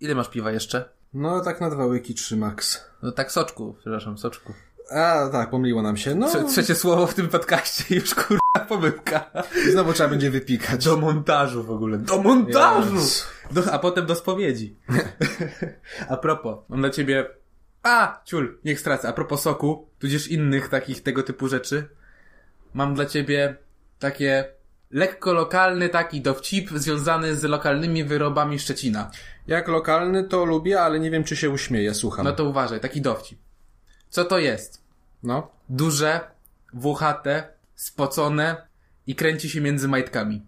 Ile masz piwa jeszcze? No tak na dwa łyki 3 max. No tak soczku, przepraszam, soczku. A tak, pomyliło nam się. No Trze- trzecie słowo w tym podcaście już kurwa pomyłka. i znowu trzeba będzie wypikać. Do montażu w ogóle. Do montażu! Jezus. Do, a potem do spowiedzi. a propos, mam dla ciebie... A, ciul, niech stracę. A propos soku, tudzież innych takich tego typu rzeczy, mam dla ciebie takie lekko lokalny taki dowcip związany z lokalnymi wyrobami Szczecina. Jak lokalny to lubię, ale nie wiem czy się uśmieję, słucham. No to uważaj, taki dowcip. Co to jest? No. Duże, włochate, spocone i kręci się między majtkami.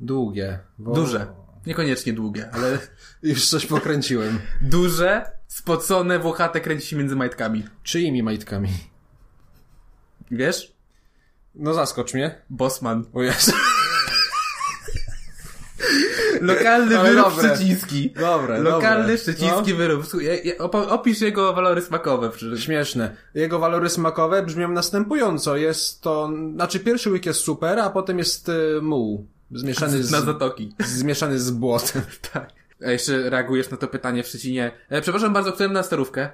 Długie. Bo... Duże. Niekoniecznie długie, ale Już coś pokręciłem. duże, spocone, włochate kręci się między majtkami. Czyimi majtkami? Wiesz? No zaskocz mnie. Bosman. O Jezu. Lokalny Ale wyrób dobre. szczeciński. Dobre, Lokalny dobre. No. szczeciński wyrób. Słuchaj, je- je- opo- opisz jego walory smakowe. przy- Śmieszne. Jego walory smakowe brzmią następująco. Jest to... Znaczy pierwszy łyk jest super, a potem jest y, muł. Zmieszany z... Na zatoki. Zmieszany z błotem. Tak. A jeszcze reagujesz na to pytanie w Szczecinie. E, przepraszam bardzo, którym na starówkę?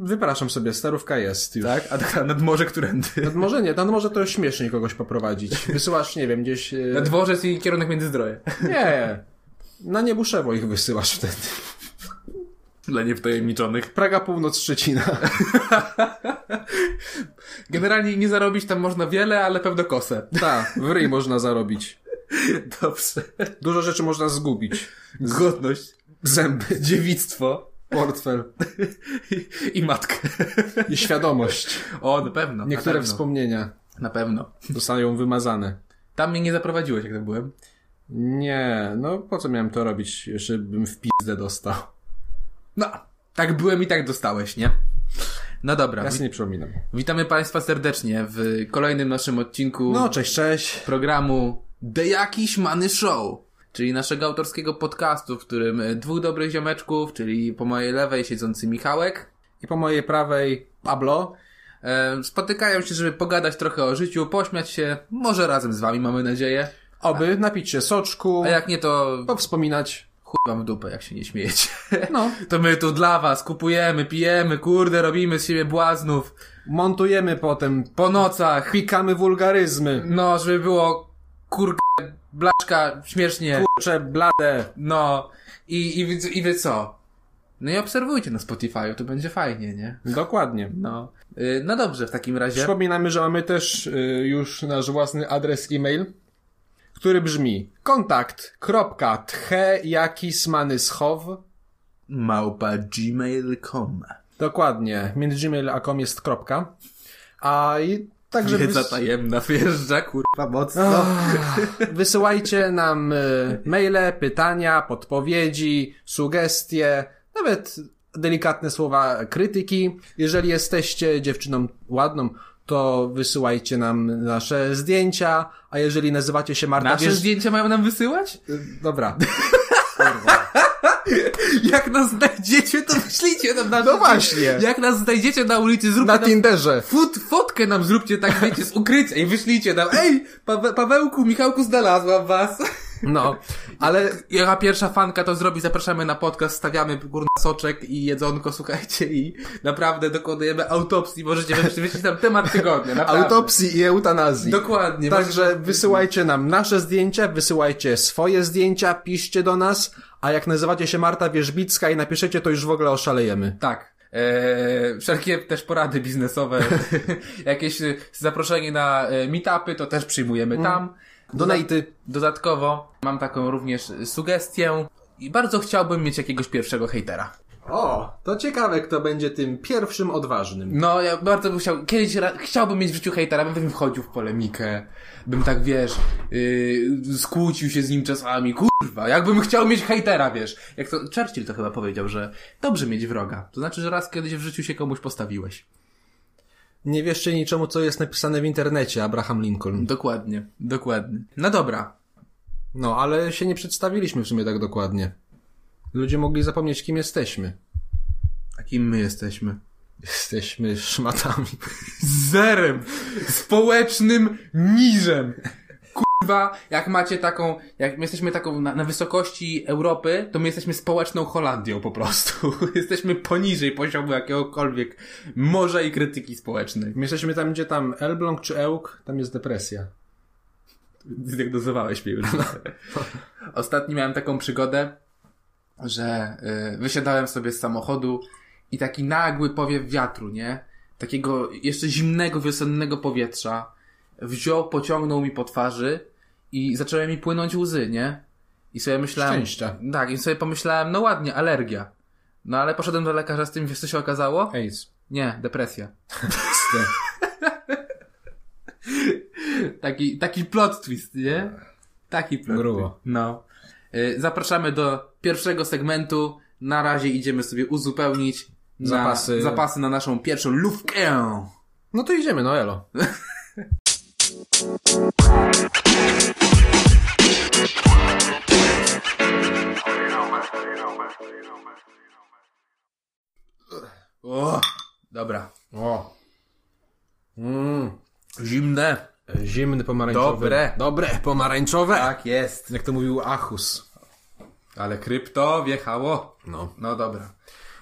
Wypraszam sobie, starówka jest już. Tak? A tak nad morze którędy? Nad może nie, nad może to śmiesznie kogoś poprowadzić. Wysyłasz, nie wiem, gdzieś... y, Na dworzec i kierunek między zdroje. Nie. Na niebuszewo ich wysyłasz wtedy. Dla niewtajemniczonych. Praga Północ Szczecina. Generalnie nie zarobić tam można wiele, ale pewno kosę. Tak, w ryj można zarobić. Dobrze. Dużo rzeczy można zgubić. Godność, Zęby, dziewictwo portfel i, i matkę. i świadomość. O, na pewno. Niektóre na pewno. wspomnienia Na pewno. zostają wymazane. Tam mnie nie zaprowadziłeś, jak to byłem. Nie, no po co miałem to robić? Jeszcze bym w pizdę dostał. No, tak byłem i tak dostałeś, nie? No dobra, Ja wit- sobie nie przypominam. witamy Państwa serdecznie w kolejnym naszym odcinku No, cześć, cześć. programu The Jakiś Many Show, czyli naszego autorskiego podcastu, w którym e, dwóch dobrych ziomeczków, czyli po mojej lewej siedzący Michałek, I po mojej prawej Pablo. e, spotykają się, żeby pogadać trochę o życiu, pośmiać się, może razem z Wami, mamy nadzieję. Oby napić się soczku, A jak nie, to powspominać. chuj wam w dupę, jak się nie śmiejecie. No, To my tu dla was kupujemy, pijemy, kurde, robimy z siebie błaznów. montujemy potem, Po nocach, pikamy wulgaryzmy. no, żeby było kurka, blaszka, śmiesznie, Kurcze, blade. no. I, i, wy- I wy co? No i obserwujcie na Spotify, to będzie fajnie, nie? Dokładnie. No. Y, No dobrze, w takim razie. Przypominamy, że mamy też y, już nasz własny adres e-mail, który brzmi kontakt.tchjakismanyschov Małpa gmail.com Dokładnie, między gmail a com jest kropka. A i także Wiedza wys... tajemna wjeżdża, kurwa, mocno. Ah, wysyłajcie nam y, maile, pytania, podpowiedzi, sugestie, nawet delikatne słowa krytyki. Jeżeli jesteście dziewczyną ładną, to wysyłajcie nam nasze zdjęcia, a jeżeli nazywacie się Marta Nasze Wierz- zdjęcia mają nam wysyłać? Y, Dobra. Jak nas znajdziecie, to wyślijcie nam nasze No właśnie. Jak nas znajdziecie na ulicy, zróbcie Na nam Tinderze. Fut, fotkę nam zróbcie tak, wiecie, z ukrycia i wyślijcie nam, ej, Pawe, Pawełku, Michałku, znalazłam was. No, ale Jaka pierwsza fanka to zrobi, zapraszamy na podcast, stawiamy górny soczek i jedzonko, słuchajcie, i naprawdę dokonujemy autopsji, możecie wyświetlić tam temat tygodnia, naprawdę. autopsji Tak, i eutanazji. Dokładnie. Także wysyłajcie nam nasze zdjęcia, wysyłajcie swoje zdjęcia, piszcie do nas, a jak nazywacie się Marta Wierzbicka i napiszecie, to już w ogóle oszalejemy. Tak. Eee, wszelkie też porady biznesowe, jakieś e, zaproszenie na e, meetupy, to też przyjmujemy tam. Donaty. Dodatkowo mam taką również sugestię i bardzo chciałbym mieć jakiegoś pierwszego hejtera. O, to ciekawe, kto będzie tym pierwszym odważnym. No, ja bardzo bym chciał, kiedyś ra, chciałbym mieć w życiu hejtera, bym, bym wchodził w polemikę, bym tak, wiesz, yy, skłócił się z nim czasami, kurwa, jakbym chciał mieć hejtera, wiesz. Jak to, Churchill to chyba powiedział, że dobrze mieć wroga, to znaczy, że raz kiedyś w życiu się komuś postawiłeś. Nie wierzcie niczemu, co jest napisane w internecie, Abraham Lincoln. Dokładnie, dokładnie. No dobra, No, ale się nie przedstawiliśmy w sumie tak dokładnie. Ludzie mogli zapomnieć, kim jesteśmy. a kim my jesteśmy? Jesteśmy szmatami. Zerem! Społecznym niżem! kurwa, jak macie taką, jak my jesteśmy taką na, na wysokości Europy, to my jesteśmy społeczną Holandią po prostu. jesteśmy poniżej poziomu jakiegokolwiek morza i krytyki społecznej. My jesteśmy tam, gdzie tam Elbląg czy Ełk, tam jest depresja. tak Zdiagnozowałeś mnie już. Ostatnio miałem taką przygodę, że y, wysiadałem sobie z samochodu i taki nagły powiew wiatru, nie? Takiego jeszcze zimnego, wiosennego powietrza wziął, pociągnął mi po twarzy i zaczęły mi płynąć łzy, nie? I sobie myślałem... Szczęścia. Tak, i sobie pomyślałem, no ładnie, alergia. No ale poszedłem do lekarza z tym, wiesz co się okazało? AIDS. Nie, depresja. Taki, taki plot twist, nie? Taki plot Grubo. twist. No. Y, Zapraszamy do pierwszego segmentu. Na razie idziemy sobie uzupełnić na, Zapasy. zapasy na naszą pierwszą lufkę. No to idziemy, no elo. O, dobra. O. Mm. Zimne. Zimny pomarańczowy. Dobre. Dobre, pomarańczowe. Tak jest. Jak to mówił Achus. Ale krypto wjechało. No. No dobra.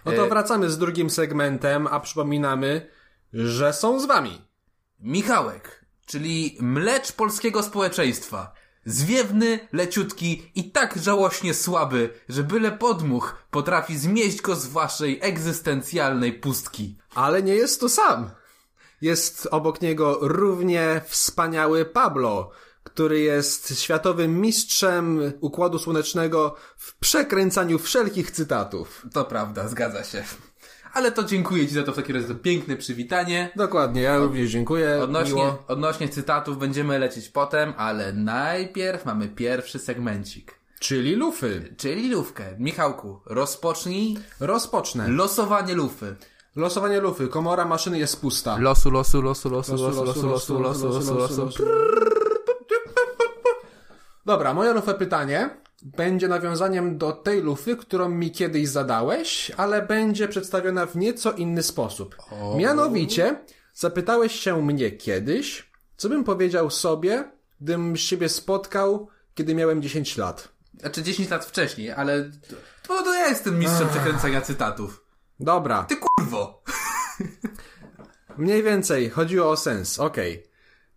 No to wracamy z drugim segmentem, a przypominamy, że są z wami. Michałek, czyli mlecz polskiego społeczeństwa. Zwiewny, leciutki i tak żałośnie słaby, że byle podmuch potrafi zmieść go z waszej egzystencjalnej pustki. Ale nie jest to sam. Jest obok niego równie wspaniały Pablo, który jest światowym mistrzem układu słonecznego w przekręcaniu wszelkich cytatów. To prawda, zgadza się. Ale to dziękuję ci za to w takim razie za piękne przywitanie. Dokładnie, ja również dziękuję. Odnośnie, Miło. odnośnie cytatów będziemy lecieć potem, ale najpierw mamy pierwszy segmencik. Czyli lufy. Czyli lufkę. Michałku, rozpocznij Rozpocznę. losowanie lufy. Losowanie lufy. Komora maszyny jest pusta. Losu, losu, losu, losu, losu, losu, losu, losu, losu, losu. Dobra, moje lufę pytanie będzie nawiązaniem do tej lufy, którą mi kiedyś zadałeś, ale będzie przedstawiona w nieco inny sposób. Mianowicie, zapytałeś się mnie kiedyś, co bym powiedział sobie, gdybym siebie spotkał, kiedy miałem 10 lat. Znaczy 10 lat wcześniej, ale to, to, to ja jestem mistrzem przekręcania cytatów. Dobra, Ty kurwo! mniej więcej chodziło o sens, okej.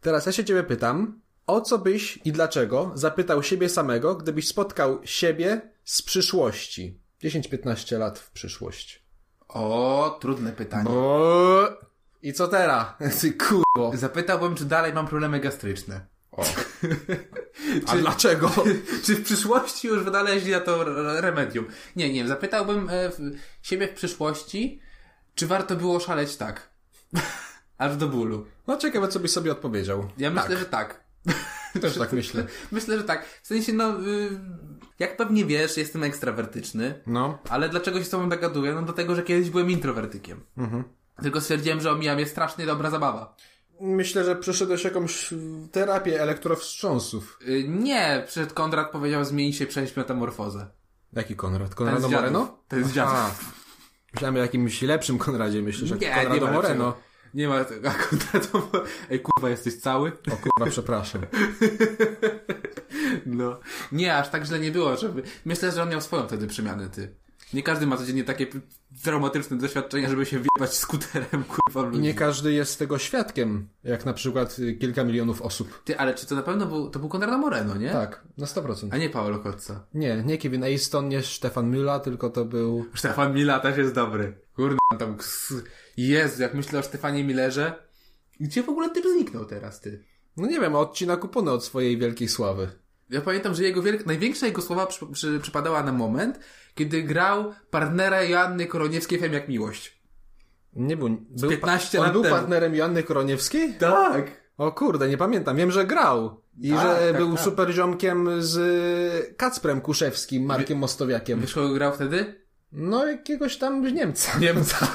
Teraz ja się ciebie pytam, o co byś i dlaczego zapytał siebie samego, gdybyś spotkał siebie z przyszłości? 10-15 lat w przyszłość. O, trudne pytanie. O, I co teraz? Ty No. kurwo. Zapytałbym, czy dalej mam problemy gastryczne. A dlaczego? Czy w przyszłości już wynaleźli na to re- remedium? Nie, nie, zapytałbym e, w, siebie w przyszłości, czy warto było szaleć tak. Aż do bólu. No ciekawe, co byś sobie odpowiedział. Ja myślę, że tak. Też tak myślę. Myślę, że tak. W sensie, no, y, jak pewnie wiesz, jestem ekstrawertyczny. No. Ale dlaczego się z tobą dogaduję? No dlatego, że kiedyś byłem introwertykiem. Tylko stwierdziłem, że omija mnie strasznie dobra zabawa. Myślę, że przeszedłeś jakąś terapię elektrowstrząsów. Y, nie, przed Kondrat powiedział zmieni się, przejść metamorfozę. Jaki Konrad? Ten Konrado z dziadów. Moreno? Ten z A, dziadów. myślałem o jakimś lepszym Konradzie, myślę, że Nie, Konrado nie ma Moreno. lepszego. Nie ma tego. A Konrad Mo- Ej, kurwa, jesteś cały? O kurwa, przepraszam. No. Nie, aż tak źle nie było. Żeby... Myślę, że on miał swoją wtedy przemianę, ty. Nie każdy ma codziennie takie p- traumatyczne doświadczenia, żeby się wjebać skuterem, kurwa, I ludzi. nie każdy jest tego świadkiem, jak na przykład y, kilka milionów osób. Ty, ale czy to na pewno był, to był Konrado Moreno, nie? Tak, na 100%. A nie Paolo Kotca. Nie, nie Kevin Easton, nie Stefan Müller, tylko to był... Stefan Mila też jest dobry. Kurna, tam... ks- Jezu, jak myślę o Stefanie Millerze... Gdzie w ogóle typ zniknął teraz, ty? No nie wiem, odcina kupony od swojej wielkiej sławy. Ja pamiętam, że jego wielk... największa jego sława przy... Przy... przypadała na moment, kiedy grał partnera Joanny Koroniewskiej Fem jak miłość. Nie był... był 15 on lat był temu. partnerem Joanny Koroniewskiej? Tak! O kurde, nie pamiętam. Wiem, że grał. I Tak, że tak, był tak. super ziomkiem z y, Kacprem Kuszewskim, Markiem Mostowiakiem. Wiesz, kogo grał wtedy? No jakiegoś tam Niemca. Niemca.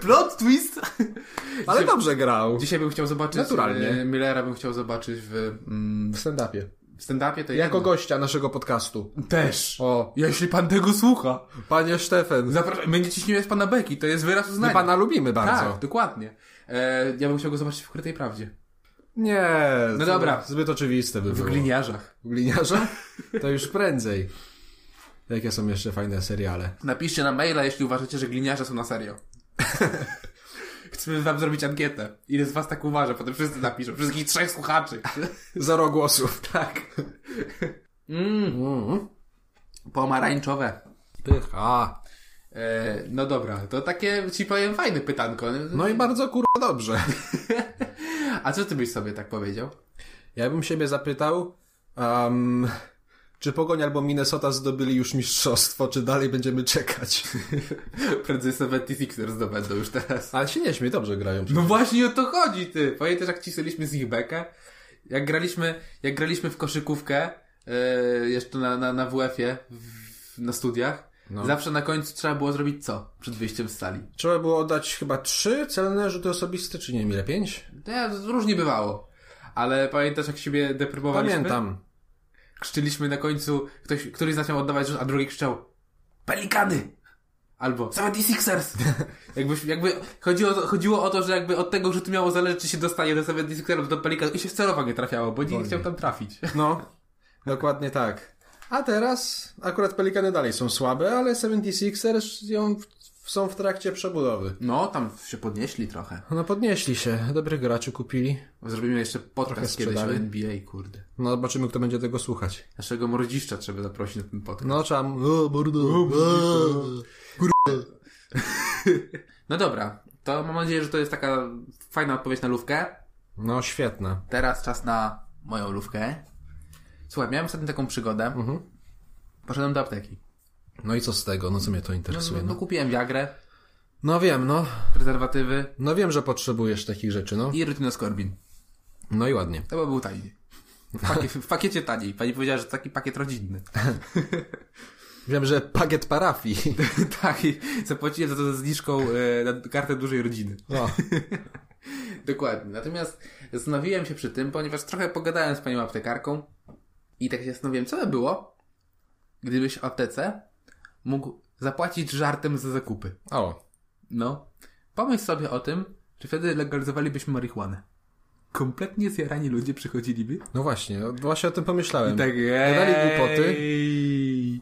Plot twist! Ale dobrze grał. Dzisiaj bym chciał zobaczyć... Naturalnie. e, Millera bym chciał zobaczyć w, mm, W stand-upie. w stand-upie. To Jako jedno. gościa naszego podcastu. Też. O, Jeśli pan tego słucha... panie Sztefen. Zapraszam, będzie ciśnienie z pana Beki, to jest wyraz My uznania. pana lubimy bardzo. tak, dokładnie. E, ja bym chciał go zobaczyć w Krytej Prawdzie. Nie. No to dobra. Zbyt oczywiste by W było. gliniarzach. W gliniarza? To już prędzej. Jakie są jeszcze fajne seriale? Napiszcie na maila, jeśli uważacie, że gliniarze są na serio. Chcemy wam zrobić ankietę. Ile z was tak uważa? Potem wszyscy napiszą. Wszystkich trzech słuchaczy. Zero głosów. tak. Mm, Mm. pomarańczowe. Pycha. E, no dobra, to takie ci powiem fajne pytanko. No i bardzo kurwa dobrze. A co ty byś sobie tak powiedział? Ja bym siebie zapytał, em, czy Pogoń albo Minnesota zdobyli już mistrzostwo, czy dalej będziemy czekać? Prędzej 76ers zdobędą już teraz. Ale się nie śmiej, dobrze grają. No właśnie o to chodzi, ty! Pamiętasz, jak cisnęliśmy z ich bekę? Jak graliśmy, jak graliśmy w koszykówkę, yy, jeszcze na, na, na WF-ie, w- na studiach, No. zawsze na końcu trzeba było zrobić co? Przed wyjściem z sali. Trzeba było oddać chyba trzy celne rzuty osobiste, czy nie wiem ile, pięć? Nie, różnie bywało. Ale pamiętasz, jak siebie deprymowaliśmy? Pamiętam. Krzczyliśmy na końcu, ktoś, któryś zaczął oddawać rzut, a drugi krzyczał Pelikany! Albo 76ers! jakby, jakby chodziło, o to- chodziło o to, że jakby od tego rzutu miało zależeć, czy się dostanie do 76ers, do Pelikanów i się celowa nie trafiało, bo nikt nie Dokładnie. chciał tam trafić. No, dokładnie tak. A teraz akurat Pelikany dalej są słabe, ale 76ers ją w, są w trakcie przebudowy. No, tam się podnieśli trochę. No podnieśli się, dobrych graczy kupili. Zrobimy jeszcze Trochę podcast kiedyś o sprzedali. NBA, kurde. No zobaczymy, kto będzie tego słuchać. Naszego mordziszcza trzeba zaprosić na ten podcast. No trzeba... O, mordo, o. No dobra, to mam nadzieję, że to jest taka fajna odpowiedź na lówkę. No świetne. Teraz czas na moją lówkę. Słuchaj, miałem ostatnio taką przygodę. Poszedłem do apteki. No i co z tego? No co mnie to No, interesuje? no No, kupiłem Viagrę, no wiem, no. prezerwatywy No wiem, że potrzebujesz takich rzeczy, no. i rytinoskorbin. No i ładnie. To by był taniej. W, pakie, w pakiecie taniej. Pani powiedziała, że to taki pakiet rodzinny. Wiem, że pakiet parafii. tak, i zapłaciłem za to ze zniżką e, na kartę dużej rodziny. No. Dokładnie. Natomiast zastanowiłem się przy tym, ponieważ trochę pogadałem z panią aptekarką i tak się zastanowiłem, co by było, gdybyś w aptece mógł zapłacić żartem za zakupy. O. No. Pomyśl sobie o tym, czy wtedy legalizowalibyśmy marihuanę. Kompletnie zjarani ludzie przychodziliby. No właśnie, no właśnie o tym pomyślałem. Tak, Gadali głupoty. ej,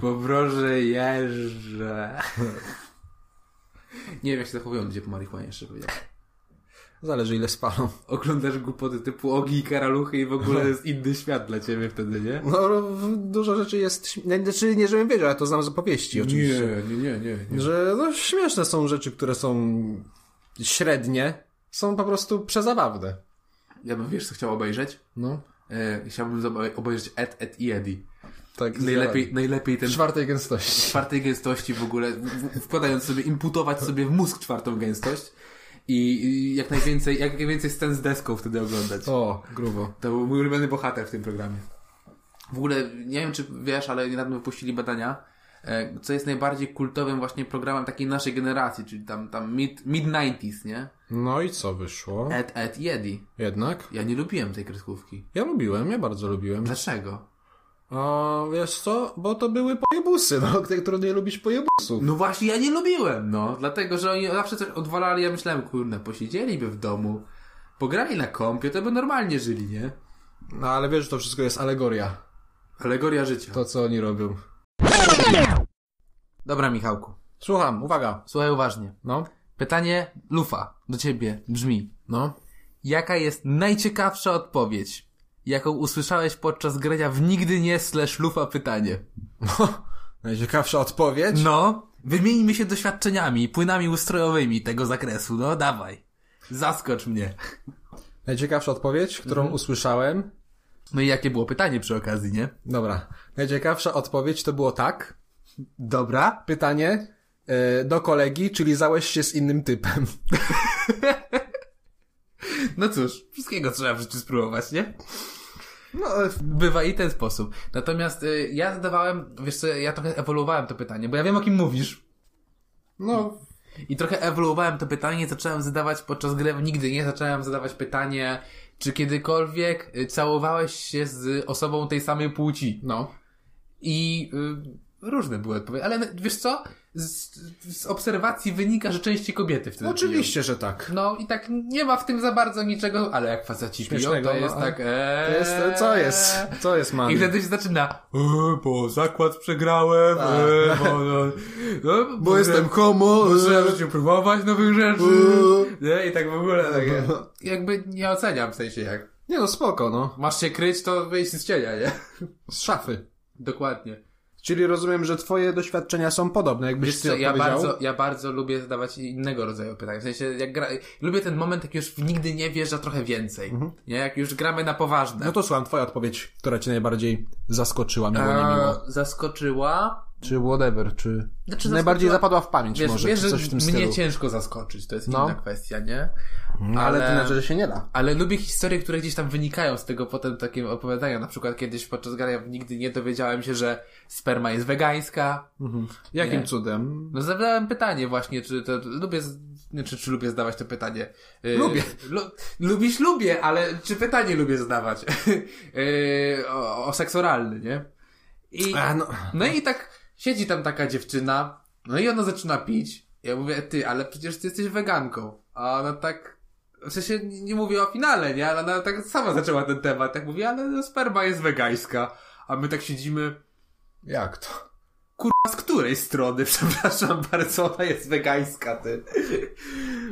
Pobroże jeżdżę. Nie wiem, jak się zachowują ludzie po marihuanie, jeszcze powiedział. Zależy ile spalą. Oglądasz głupoty typu Ogi i Karaluchy i w ogóle to jest inny świat dla ciebie wtedy, nie? No, w- dużo rzeczy jest... śm- Znaczy, nie żebym wiedział, ja to znam z opowieści oczywiście. nie, nie, nie. nie. Że no, śmieszne są rzeczy, które są średnie. Są po prostu przezabawne. Ja bym, wiesz, co chciał obejrzeć? No. E, chciałbym zobe- obejrzeć Ed, Ed i Eddie. Tak. Najlepiej, najlepiej ten W czwartej gęstości. czwartej gęstości w ogóle, w, w, wkładając sobie, imputować sobie w mózg czwartą gęstość i, i jak najwięcej, jak najwięcej scen z deską wtedy oglądać. O, grubo. To był mój ulubiony bohater w tym programie. W ogóle, nie wiem czy wiesz, ale niedawno wypuścili badania, e, co jest najbardziej kultowym właśnie programem takiej naszej generacji, czyli tam, tam mid, mid-90s, nie? No i co wyszło? Ed, Ed i Eddie. Jednak. Ja nie lubiłem tej kreskówki. Ja lubiłem, ja bardzo lubiłem. Dlaczego? A wiesz co? Bo to były pojebusy, no, które- które nie lubisz pojebusów. No właśnie, ja nie lubiłem, no. Dlatego, że oni zawsze coś odwalali, ja myślałem, kurde, posiedzieliby w domu, pograli na kompie, to by normalnie żyli, nie? No ale wiesz, że to wszystko jest alegoria. Alegoria życia. To, co oni robią. Dobra, Michałku. Słucham, uwaga. Słuchaj uważnie. No, Pytanie Lufa do ciebie brzmi. no. Jaka jest najciekawsza odpowiedź, jaką usłyszałeś podczas grania w nigdy nie slash Lufa pytanie? Najciekawsza odpowiedź? No, wymieńmy się doświadczeniami, płynami ustrojowymi tego zakresu, no dawaj. Zaskocz mnie. Najciekawsza odpowiedź, którą Mhm. usłyszałem. No i jakie było pytanie przy okazji, nie? Dobra. Najciekawsza odpowiedź to było tak. Dobra, Pytanie e, do kolegi, czyli załeś się z innym typem. No cóż, wszystkiego trzeba w życiu spróbować, nie? No, ale Bywa i ten sposób. Natomiast y, ja zadawałem, wiesz co, ja trochę ewoluowałem to pytanie, bo ja wiem o kim mówisz. no, I trochę ewoluowałem to pytanie, zacząłem zadawać podczas gry, nigdy nie zacząłem zadawać pytanie, czy kiedykolwiek y, całowałeś się z osobą tej samej płci. no. I różne były odpowiedzi, ale wiesz co? Z, z obserwacji wynika, że częściej kobiety wtedy Oczywiście, że tak. piją. No i tak nie ma w tym za bardzo niczego, ale jak faceci piją, Śmiesznego, to jest no, tak... To Eee... jest, co jest? Co jest, man? I wtedy się zaczyna, e, bo zakład przegrałem, e, bo, no, no, Tak. Bo jestem homo. Muszę w życiu próbować nowych rzeczy. Uuu. Nie? I tak w ogóle No, takie. Jakby nie oceniam w sensie jak. Nie no, spoko, no. Masz się kryć, to wyjść z cienia, nie? Z szafy. Dokładnie. Czyli rozumiem, że twoje doświadczenia są podobne, jakbyś Wiesz ty co, ja odpowiedział. bardzo, ja bardzo lubię zadawać innego rodzaju pytania. W sensie, jak gra... lubię ten moment, jak już nigdy nie wiesz, że trochę więcej. Mhm. Nie? Jak już gramy na poważne. No to słucham, twoja odpowiedź, która cię najbardziej zaskoczyła, miło, A, niemiło. zaskoczyła. Czy whatever, czy... Znaczy, najbardziej zaskoczyła- zapadła w pamięć Wiesz, może, wiesz czy że coś w tym mnie stylu. ciężko zaskoczyć, to jest No. inna kwestia, nie? No, ale to znaczy, że się nie da. Ale lubię historie, które gdzieś tam wynikają z tego potem takiego opowiadania. Na przykład kiedyś podczas grania w nigdy nie dowiedziałem się, że sperma jest wegańska. Jakim Nie. cudem? No zadałem pytanie właśnie, czy to lubię, z- nie, czy, czy lubię zdawać to pytanie. Yy, Lubię. Lu, lubisz lubię, ale czy pytanie lubię zdawać? yy, o, o seks oralny, nie? I, A, no. no i tak siedzi tam taka dziewczyna, no i ona zaczyna pić. Ja mówię, ty, ale przecież ty jesteś weganką. A ona tak, w sensie nie nie mówię o finale, nie? Ale ona tak sama zaczęła ten temat. Tak mówi, ale no, sperma jest wegańska. A my tak siedzimy, Jak to? kurwa, z której strony, przepraszam bardzo, ona jest wegańska, ty.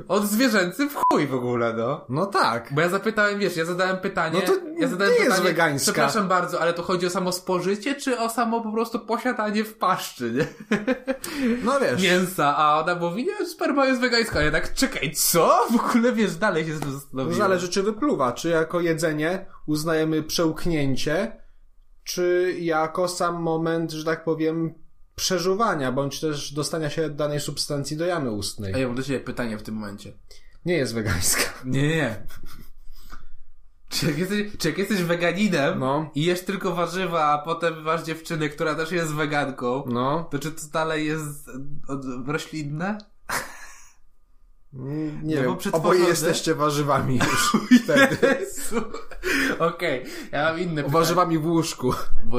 Od zwierzęcy w chuj w ogóle, no. No tak. Bo ja zapytałem, wiesz, ja zadałem pytanie. No to ja zadałem nie jest wegańska. Przepraszam bardzo, ale to chodzi o samo spożycie, czy o samo po prostu posiadanie w paszczy, nie? No wiesz. mięsa, a ona mówi, nie, sperma jest wegańska. A ja tak, czekaj, co? W ogóle, wiesz, dalej się zastanowiłem. Zależy, czy wypluwa, czy jako jedzenie uznajemy przełknięcie, czy jako sam moment, że tak powiem, przeżuwania, bądź też dostania się danej substancji do jamy A ustnej. ja mam do ciebie pytanie w tym momencie. Nie jest wegańska. Nie, nie, nie. Czy jak jesteś, czy jak jesteś weganinem No. i jesz tylko warzywa, a potem masz dziewczynę, która też jest weganką, No, to czy to dalej jest e, od- roślinne? mm, nie No bo wiem, przetworzone- oboje jesteśmy warzywami już wtedy. Jezu. Okej, ja mam inne pytanie. Warzywami w łóżku. Bo...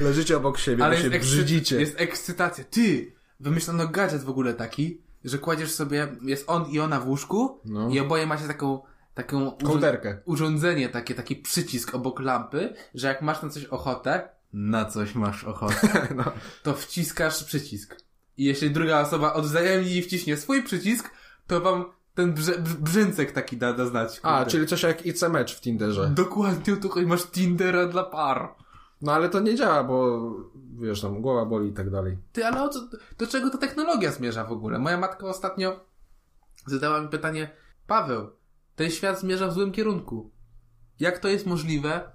Leżycie obok siebie, ale się jest, ekscy- brzydzicie. jest ekscytacja. Ty! Wymyślono gadżet w ogóle taki, że kładziesz sobie, jest on i ona w łóżku No. i oboje macie taką, taką urzu- Kołderkę. urządzenie, takie, taki przycisk obok lampy, że jak masz na coś ochotę, na coś masz ochotę, No. to wciskasz przycisk. I jeśli druga osoba odwzajemni i wciśnie swój przycisk, to wam ten brze- brz- brzęcek taki da, da znać. A, Kurde. czyli coś jak IC mecz w Tinderze. Dokładnie tutaj masz Tindera dla par. No ale to nie działa, bo wiesz, tam głowa boli i tak dalej. Ty, ale o co, do czego ta technologia zmierza w ogóle? Moja matka ostatnio zadała mi pytanie, Paweł, ten świat zmierza w złym kierunku. Jak to jest możliwe,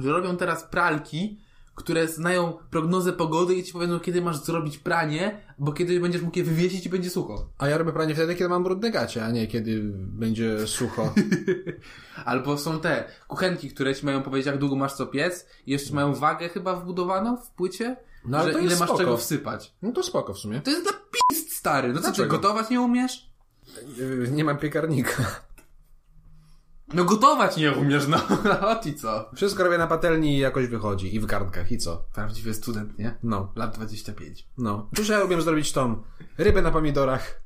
że robią teraz pralki, które znają prognozę pogody i ci powiedzą, kiedy masz zrobić pranie, bo kiedy będziesz mógł je wywiesić i będzie sucho. A ja robię pranie wtedy, kiedy mam brudne gacie, a nie kiedy będzie sucho. Albo są te kuchenki, które ci mają powiedzieć, jak długo masz co piec i jeszcze mają wagę chyba wbudowaną w płycie, No, ale że to ile jest masz spoko. czego wsypać. No to spoko w sumie. To jest dla pist, stary. No co ty, Dlaczego? gotować nie umiesz? Yy, Nie mam piekarnika. No gotować nie umiesz, no. O ty co? Wszystko robię na patelni i jakoś wychodzi. I w garnkach, i co? Prawdziwy student, nie? No, Lat 25. no. Cóż ja umiem zrobić tą rybę na pomidorach?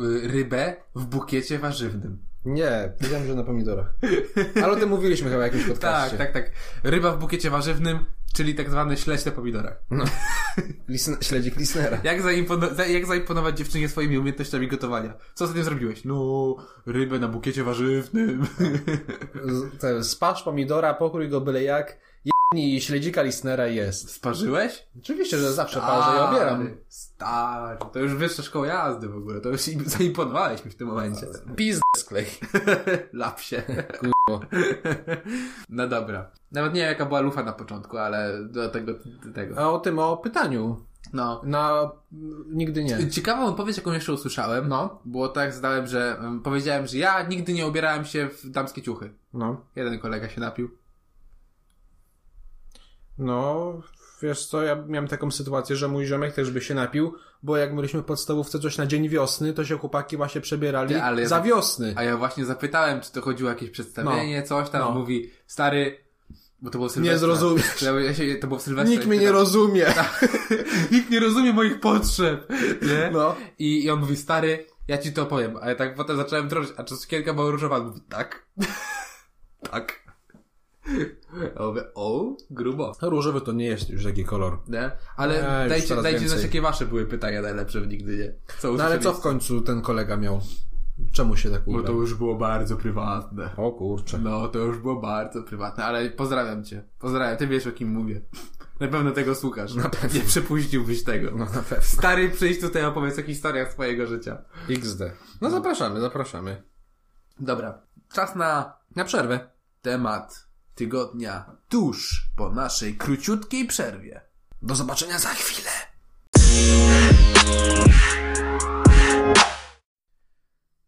Y, Rybę w bukiecie warzywnym. Nie, powiedziałem, że na pomidorach. Ale o tym mówiliśmy chyba w jakimś Tak, podcaście. tak, tak. Ryba w bukiecie warzywnym, czyli tak zwany śledź na pomidorach. Lisn- śledzik Lisnera. Jak, zaimpono- za- jak zaimponować dziewczynie swoimi umiejętnościami gotowania? Co ostatnio zrobiłeś? No, rybę na bukiecie warzywnym. Z- te- Spasz pomidora, pokrój go byle jak. I śledzika Lisnera jest. Sparzyłeś? Oczywiście, że zawsze parzę i obieram. Stary, Stary, to już wyższa szkoła jazdy w ogóle. To już im- zaimponowałeś mi w tym momencie. Pizdę sklej. Lap się. No dobra. Nawet nie wiem, jaka była lufa na początku, ale do tego, do tego. A o tym, o pytaniu. No. Na... Nigdy nie. Ciekawą odpowiedź, jaką jeszcze usłyszałem, No. było tak, zdałem, że mm, powiedziałem, że ja nigdy nie ubierałem się w damskie ciuchy. No. Jeden kolega się napił. No, wiesz co, ja miałem taką sytuację, że mój ziomek też by się napił, bo jak byliśmy w podstawówce coś na dzień wiosny, to się chłopaki właśnie przebierali Ty, ale- za wiosny. A ja właśnie zapytałem, czy to chodziło o jakieś przedstawienie, coś tam. No. Mówi, stary, Bo to było Sylwestra. zrozumiesz. To, ja się, to było w Sylwestrze. Nikt mnie i nie pytam- Tak. rozumie. Nikt nie rozumie moich potrzeb. Nie? No. I, I on mówi, stary, ja ci to powiem. A ja tak potem zacząłem drążyć, a czy sukienka była różowa? On mówi, tak. tak. Ja mówię, o, grubo. No, Różowy to nie jest już taki kolor. Nie? Ale E, już dajcie, coraz dajcie znać, więcej. jakie wasze były pytania najlepsze w Nigdy Nie. Co No ale co w usłyszeliście? końcu ten kolega miał? Czemu się tak Bo to ubrał? już było bardzo prywatne. O kurczę. No, to już było bardzo prywatne, ale pozdrawiam cię. Pozdrawiam, ty wiesz o kim mówię. Na pewno tego słuchasz. Na pewno. Nie przepuściłbyś tego. No na pewno. Stary, przyjdź tutaj, opowiedz o historiach swojego życia. XD. No zapraszamy, zapraszamy. Dobra, czas na Na przerwę. temat tygodnia tuż po naszej króciutkiej przerwie. Do zobaczenia za chwilę.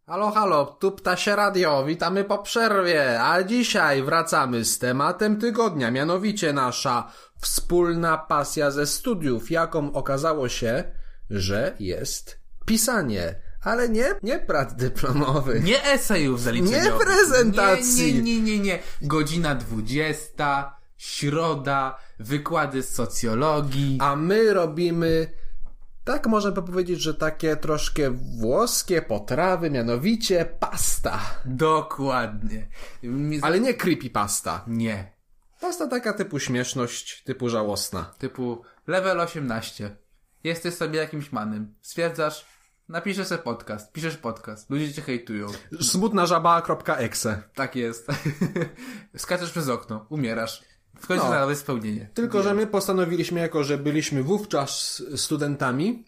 Halo, halo, tu Ptasie Radio, witamy po przerwie, a dzisiaj wracamy z tematem tygodnia, mianowicie nasza wspólna pasja ze studiów, jaką okazało się, że jest pisanie, ale nie, nie prac dyplomowych. Nie esejów zaliczeniowych. Nie prezentacji. Nie, nie, nie, nie, nie. Godzina 20, środa, wykłady z socjologii. A my robimy, tak można by powiedzieć, że takie troszkę włoskie potrawy, mianowicie pasta. Dokładnie. Mi- Ale nie creepy pasta. Nie. Pasta taka typu śmieszność, typu żałosna. Typu level 18. Jesteś sobie jakimś manem. Stwierdzasz, napiszesz sobie podcast, piszesz podcast. Ludzie cię hejtują. Smutna żaba.exe. Tak jest. Skaczesz przez okno, umierasz. W końcu No. znalazłeś spełnienie. Tylko, że my postanowiliśmy, jako że byliśmy wówczas studentami,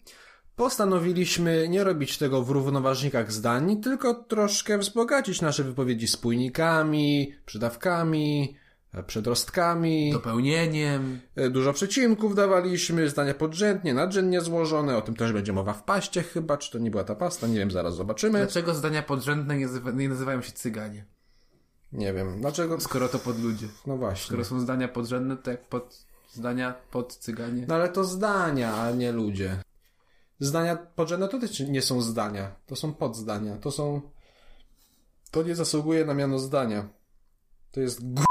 postanowiliśmy nie robić tego w równoważnikach zdań, tylko troszkę wzbogacić nasze wypowiedzi spójnikami, przydawkami, e, przedrostkami. Dopełnieniem. E, Dużo przecinków dawaliśmy, zdania podrzędnie, nadrzędnie złożone, o tym też będzie mowa w paście chyba, czy to nie była ta pasta, nie wiem, zaraz zobaczymy. Dlaczego zdania podrzędne nie, nazywa- nie nazywają się cyganie? Nie wiem, dlaczego... Skoro to pod ludzie. No właśnie. Skoro są zdania podrzędne, to jak pod zdania pod cyganie. No ale to zdania, a nie ludzie. Zdania podrzędne to też nie są zdania, to są podzdania, to są... To nie zasługuje na miano zdania. To jest g...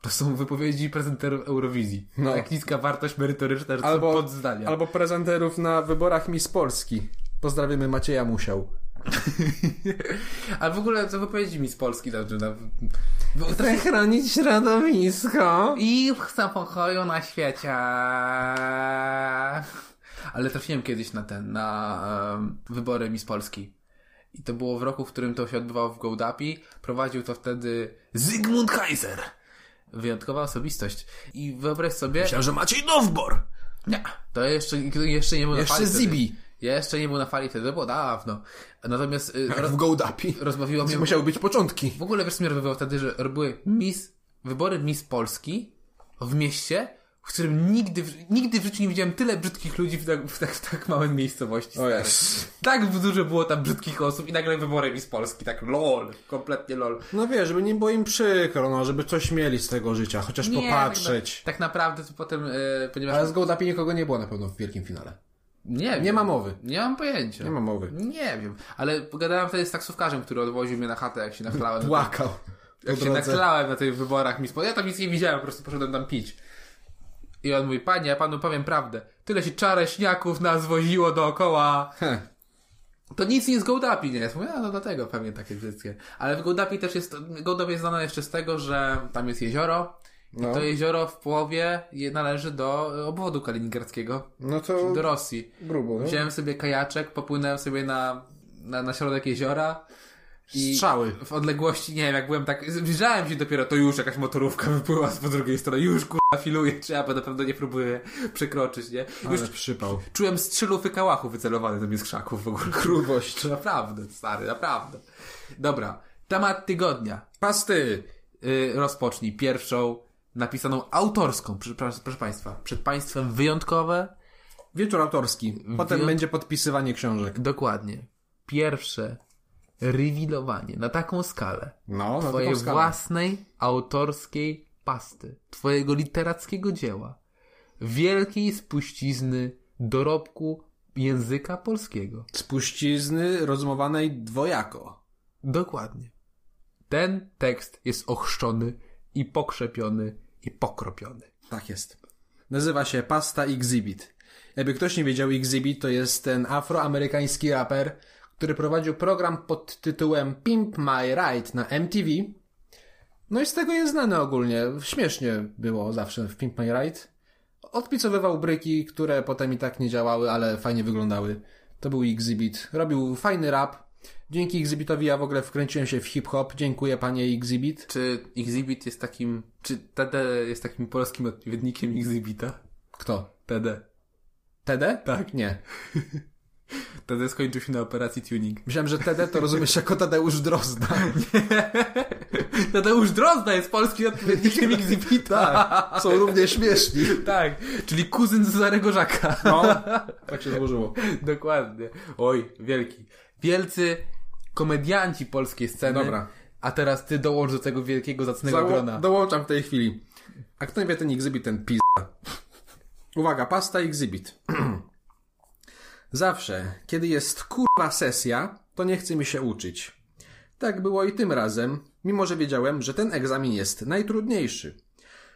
To są wypowiedzi prezenterów Eurowizji. No. Tak niska wartość merytoryczna, że Albo- są pod zdania. Albo prezenterów na wyborach Miss Polski. Pozdrawiamy Macieja Musiał. A w ogóle co wypowiedzi mi z Polski dobrze. Na... Bo to- chronić środowisko. I chcę pokoju na świecie. Ale trafiłem kiedyś na ten, na em, wybory Miss Polski. I to było w roku, w którym to się odbywało w Gołdapi. Prowadził to wtedy Zygmunt Kaiser. Wyjątkowa osobistość. I wyobraź sobie... że Maciej Nowbor. Nie, to jeszcze, jeszcze nie był na Jeszcze fali wtedy. Zibi. Jeszcze nie był na fali wtedy, to było dawno. Natomiast y, Jak roz, w Gołdapi. rozbawiło mnie... Musiały być początki. W ogóle wiesz, co mnie rozbawiło wtedy, że były Miss, wybory Miss Polski w mieście, w którym nigdy, w- nigdy w życiu nie widziałem tyle brzydkich ludzi w tak, w tak, w tak małej miejscowości. O jest. Tak dużo było tam brzydkich osób i nagle wybory Miss Polski, tak lol, kompletnie lol. No wiesz, żeby nie było im przykro, no, żeby coś mieli z tego życia, chociaż Nie, popatrzeć. Tak, na- tak naprawdę to potem, e, ponieważ... Ale z Gołdapi nikogo nie było na pewno w wielkim finale. Nie, wiem. Nie ma mowy. Nie mam pojęcia. Nie ma mowy. Nie wiem, ale pogadałem wtedy z taksówkarzem, który odwoził mnie na chatę, jak się nachlałem. Płakał. Po Jak się drodze. naklałem na tych wyborach mi spo... Ja tam nic nie widziałem, po prostu poszedłem tam pić. I on mówi, panie, ja panu powiem prawdę. Tyle się czareśniaków nas woziło dookoła. Heh. To nic nie z Gołdapi nie jest. Mówię, a no dlatego pewnie takie wszystkie. Ale w Gołdapi też jest, Gołdapi jest znana jeszcze z tego, że tam jest jezioro. No. I to jezioro w połowie je- należy do e, obwodu kaliningradzkiego, No to do Rosji. grubo. No? Wziąłem sobie kajaczek, popłynąłem sobie na, na, na środek jeziora. I Strzały. w odległości, nie wiem, jak byłem tak, zbliżałem się dopiero, to już jakaś motorówka wypłyła z po drugiej strony, już kurwa filuje, czy ja na pewno nie próbuję przekroczyć, nie? Już Ale przypał. czułem strzelów i kałachów wycelowane do mnie z krzaków w ogóle. Grubość. To Naprawdę, stary, naprawdę. Dobra, temat tygodnia. Pasty. Yy, rozpocznij pierwszą napisaną autorską, przy, proszę, proszę Państwa, przed Państwem wyjątkowe, Wieczór autorski. Potem Wyjąt- będzie podpisywanie książek. dokładnie, pierwsze rewilowanie na taką skalę. No, na Twojej taką skalę. własnej, autorskiej pasty, Twojego literackiego dzieła, wielkiej spuścizny dorobku języka polskiego. Spuścizny rozumowanej dwojako. Dokładnie. Ten tekst jest ochrzczony i pokrzepiony i pokropiony. Tak jest. Nazywa się Pasta Exhibit. Jakby ktoś nie wiedział, Exhibit to jest ten afroamerykański raper, który prowadził program pod tytułem Pimp My Ride na MTV. No i z tego jest znany ogólnie. Śmiesznie było zawsze w Pimp My Ride. Odpicowywał bryki, które potem i tak nie działały, ale fajnie wyglądały. To był Exhibit. Robił fajny rap. Dzięki Exhibitowi ja w ogóle wkręciłem się w hip-hop. Dziękuję panie Exhibit. Czy Exhibit jest takim. Czy TD jest takim polskim odpowiednikiem Exhibita? Kto? TD. TD? Tak. Nie. TD skończył się na operacji tuning. Myślałem, że TD to rozumiesz jako Tadeusz Drozda. Tadeusz Drozda jest polskim odpowiednikiem Exhibita. Tak, są równie śmieszni. tak. Czyli kuzyn Cezarego Żaka. No, tak się złożyło. Dokładnie. Oj, wielki. Wielcy komedianci polskiej sceny. Dobra. A teraz ty dołącz do tego wielkiego, zacnego grona. Zało- dołączam w tej chwili. A kto nie wie, ten exhibit, ten pizda. Uwaga, pasta exhibit. Zawsze, kiedy jest kurwa sesja, to nie chce mi się uczyć. Tak było i tym razem, mimo że wiedziałem, że ten egzamin jest najtrudniejszy.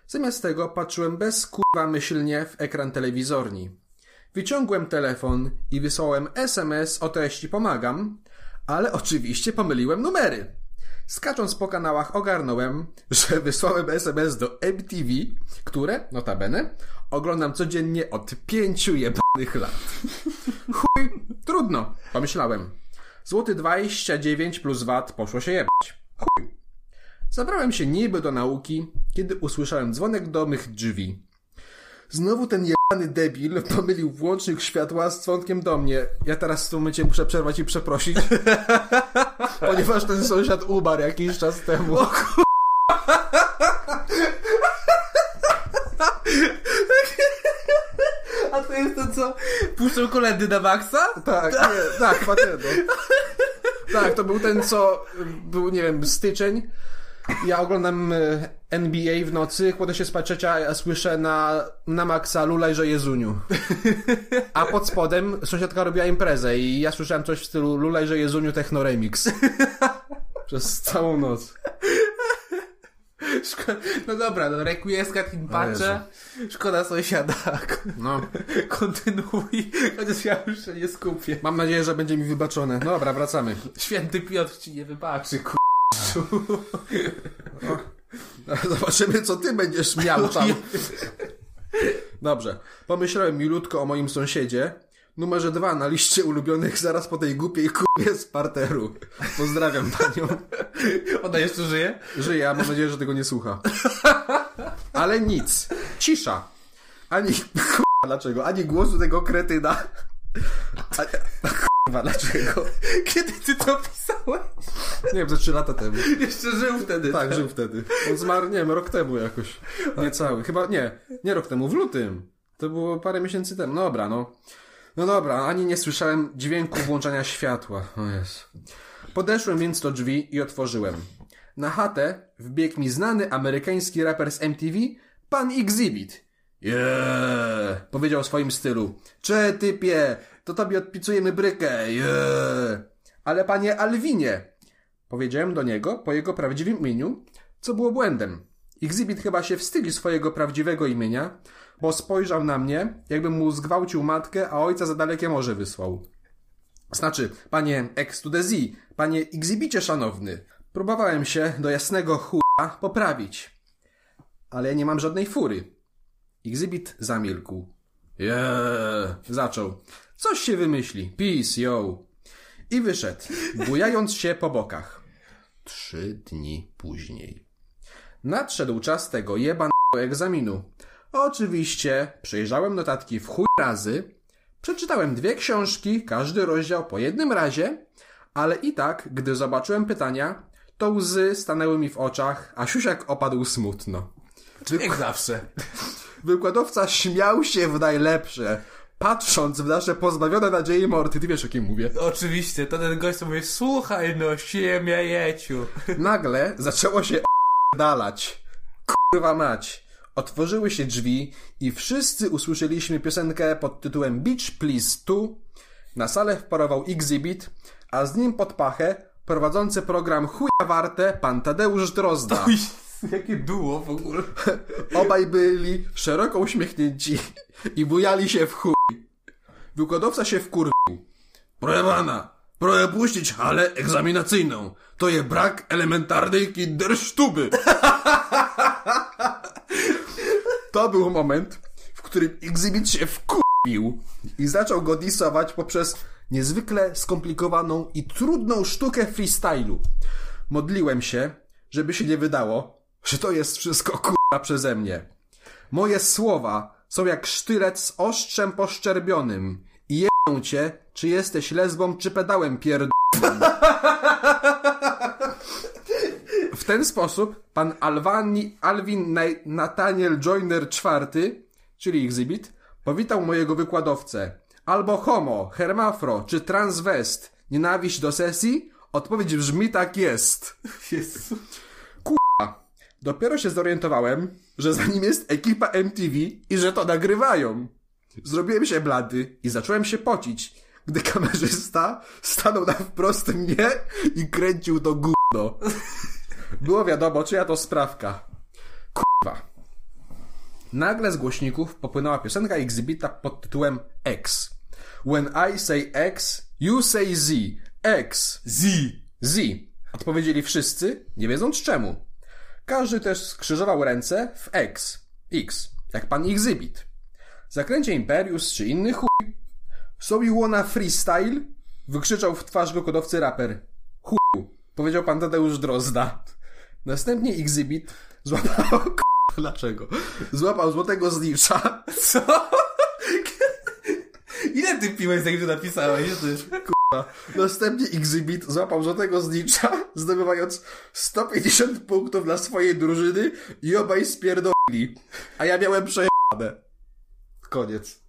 Zamiast tego patrzyłem bez kurwa myślnie w ekran telewizorni. Wyciągłem telefon i wysłałem SMS o treści pomagam, ale oczywiście pomyliłem numery. Skacząc po kanałach ogarnąłem, że wysłałem SMS do MTV, które, notabene, oglądam codziennie od pięciu jebanych lat. Chuj, trudno, pomyślałem. Złoty 29 plus VAT poszło się jebać. Chuj. Zabrałem się niby do nauki, kiedy usłyszałem dzwonek do mych drzwi. Znowu ten jebany debil pomylił włącznik światła z dzwonkiem do mnie. Ja teraz w tym momencie muszę przerwać i przeprosić, ponieważ ten sąsiad umarł jakiś czas temu. A to jest to co? Puszczą kolędy na maksa? Tak, nie, tak, Patego. Tak, to był ten, co y, był, nie wiem, styczeń. Ja oglądam y, NBA w nocy, kładę się spać trzecia, a ja słyszę na, na maksa Lulajże Jezuniu. A pod spodem sąsiadka robiła imprezę i ja słyszałem coś w stylu Lulajże Jezuniu Techno Remix. Przez całą noc. Szko- no dobra, no requieska tym patrzę. patrzę. Szkoda sąsiada. No. Kontynuuj, chociaż ja już się nie skupię. Mam nadzieję, że będzie mi wybaczone. No Dobra, wracamy. Święty Piotr ci nie wybaczy, ku... Zobaczymy, co ty będziesz miał tam. Dobrze. Pomyślałem milutko o moim sąsiedzie. Numerze dwa na liście ulubionych zaraz po tej głupiej kubie z parteru. Pozdrawiam panią. Ona jeszcze żyje? Żyje, a mam nadzieję, że tego nie słucha. Ale nic. Cisza. Ani... Kurwa, dlaczego? Ani głosu tego kretyna. Ani... Kurwa, dlaczego? Kiedy ty to pisałeś? Nie wiem, ze trzy lata temu. Jeszcze żył wtedy. Tak, żył wtedy. On zmarł, nie wiem, rok temu jakoś. Niecały. Chyba, nie, nie rok temu, w lutym. To było parę miesięcy temu. No dobra, no. No dobra, ani nie słyszałem dźwięku włączania światła. O jest. Podeszłem więc do drzwi i otworzyłem. Na chatę wbiegł mi znany amerykański raper z MTV, pan Exhibit. Yeah, powiedział w swoim stylu. Cze typie, to tobie odpicujemy brykę. Yeah. Ale panie Alwinie, Powiedziałem do niego po jego prawdziwym imieniu, co było błędem. Exhibit chyba się wstydził swojego prawdziwego imienia, bo spojrzał na mnie, jakby mu zgwałcił matkę, a ojca za dalekie morze wysłał. Znaczy, panie ex to the Z, panie Exhibicie szanowny, próbowałem się do jasnego chuja poprawić, ale ja nie mam żadnej fury. Exhibit zamilkł. Jeee, zaczął. Coś się wymyśli. Peace, yo i wyszedł, bujając się po bokach. Trzy dni później. Nadszedł czas tego jebanego egzaminu. Oczywiście przejrzałem notatki w chuj razy, przeczytałem dwie książki, każdy rozdział po jednym razie, ale i tak, gdy zobaczyłem pytania, to łzy stanęły mi w oczach, a siusiak opadł smutno. Jak zawsze. Wykładowca śmiał się w najlepsze, patrząc w nasze pozbawione nadziei morty. Ty wiesz, o kim mówię. Oczywiście, to ten gość co mówi, słuchaj no, siemia jeciu. Nagle zaczęło się dalać. Kurwa mać. Otworzyły się drzwi i wszyscy usłyszeliśmy piosenkę pod tytułem Beach Please Tu. Na salę wparował Exhibit, a z nim pod pachę prowadzący program Chuja Warte pan Tadeusz Drozda. Jakie duo w ogóle. Obaj byli szeroko uśmiechnięci i bujali się w chuj. Wykładowca się wkurwił. Proszę pana, proszę puścić halę egzaminacyjną. To je brak elementarnej kindersztuby. To był moment, w którym egzibit się wkurwił i zaczął go disować poprzez niezwykle skomplikowaną i trudną sztukę freestylu. Modliłem się, żeby się nie wydało, że to jest wszystko kurwa przeze mnie. Moje słowa są jak sztylet z ostrzem poszczerbionym i jedną cię, czy jesteś lesbą, czy pedałem pierd... W ten sposób pan Alwani, Alwin Nai- Nathaniel Joyner IV, czyli Exhibit, powitał mojego wykładowcę. Albo homo, hermafro czy transwest. Nienawiść do sesji? Odpowiedź brzmi tak jest. Jezu. Dopiero się zorientowałem, że za nim jest ekipa MTV i że to nagrywają. Zrobiłem się blady i zacząłem się pocić, gdy kamerzysta stanął na wprost mnie i kręcił to gówno. Było wiadomo, czyja to sprawka. Kurwa. Nagle z głośników popłynęła piosenka Exhibita pod tytułem X. When I say X, you say Z. X. Z. Z. Odpowiedzieli wszyscy, nie wiedząc czemu. Każdy też skrzyżował ręce w X. X. Jak pan Exhibit. Zakręcie Imperius czy inny chuj. Sobie łona freestyle. Wykrzyczał w twarz wykodowcy raper. Chuju. Powiedział pan Tadeusz Drozda. Następnie Exhibit złapał... k***a, Dlaczego? Złapał złotego znicza. Co? Ile ty piłeś, zanim to napisałeś? Ty? Następnie Exhibit złapał złotego znicza, zdobywając 150 punktów dla swojej drużyny i obaj spierdolili. A ja miałem przejebane. Koniec.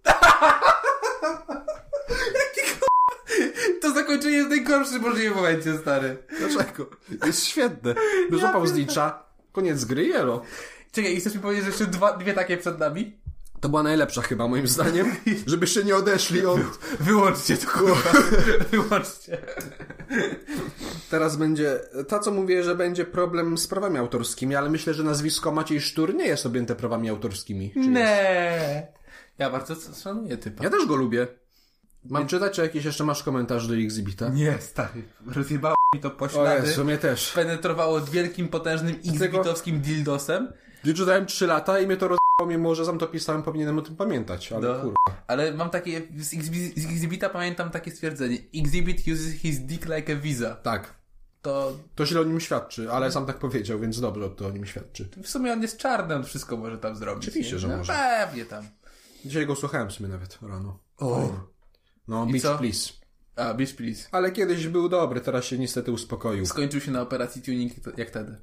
To zakończenie jest najgorszy możliwy momencie, stary. Dlaczego? Jest świetne. No złapał znicza, koniec gry, jelo. Czekaj, i chcesz mi powiedzieć, że jeszcze dwa, dwie takie przed nami? To była najlepsza chyba moim zdaniem, żeby się nie odeszli od... Wyłączcie to, kurwa. Wyłączcie. Teraz będzie ta, co mówię, że będzie problem z prawami autorskimi, ale myślę, że nazwisko Maciej Sztur nie jest objęte prawami autorskimi. Czy jest? Nie. Ja bardzo szanuję typa. Ja też go lubię. Mam czytać, czy jakiś jeszcze masz komentarz do Exhibita? Nie, stary. Rozjebało mi to po O ślady. Jezu, mnie też. Penetrowało wielkim, potężnym, x-bitowskim dildosem. Nie czytałem 3 lata i mnie to rozdało, mimo że sam to pisałem, powinienem o tym pamiętać, ale No. kurwa. Ale mam takie, z Exhibi- z Exhibita pamiętam takie stwierdzenie. Exhibit uses his dick like a visa. Tak. To To źle o nim świadczy, ale sam tak powiedział, więc dobrze to o nim świadczy. w sumie on jest czarny, on wszystko może tam zrobić. Oczywiście, nie? że no, może. Pewnie tam. Dzisiaj go słuchałem sobie nawet rano. O. No, I co? Beach Please. A, bitch please. Ale kiedyś był dobry, teraz się niestety uspokoił. Skończył się na operacji tuning jak wtedy.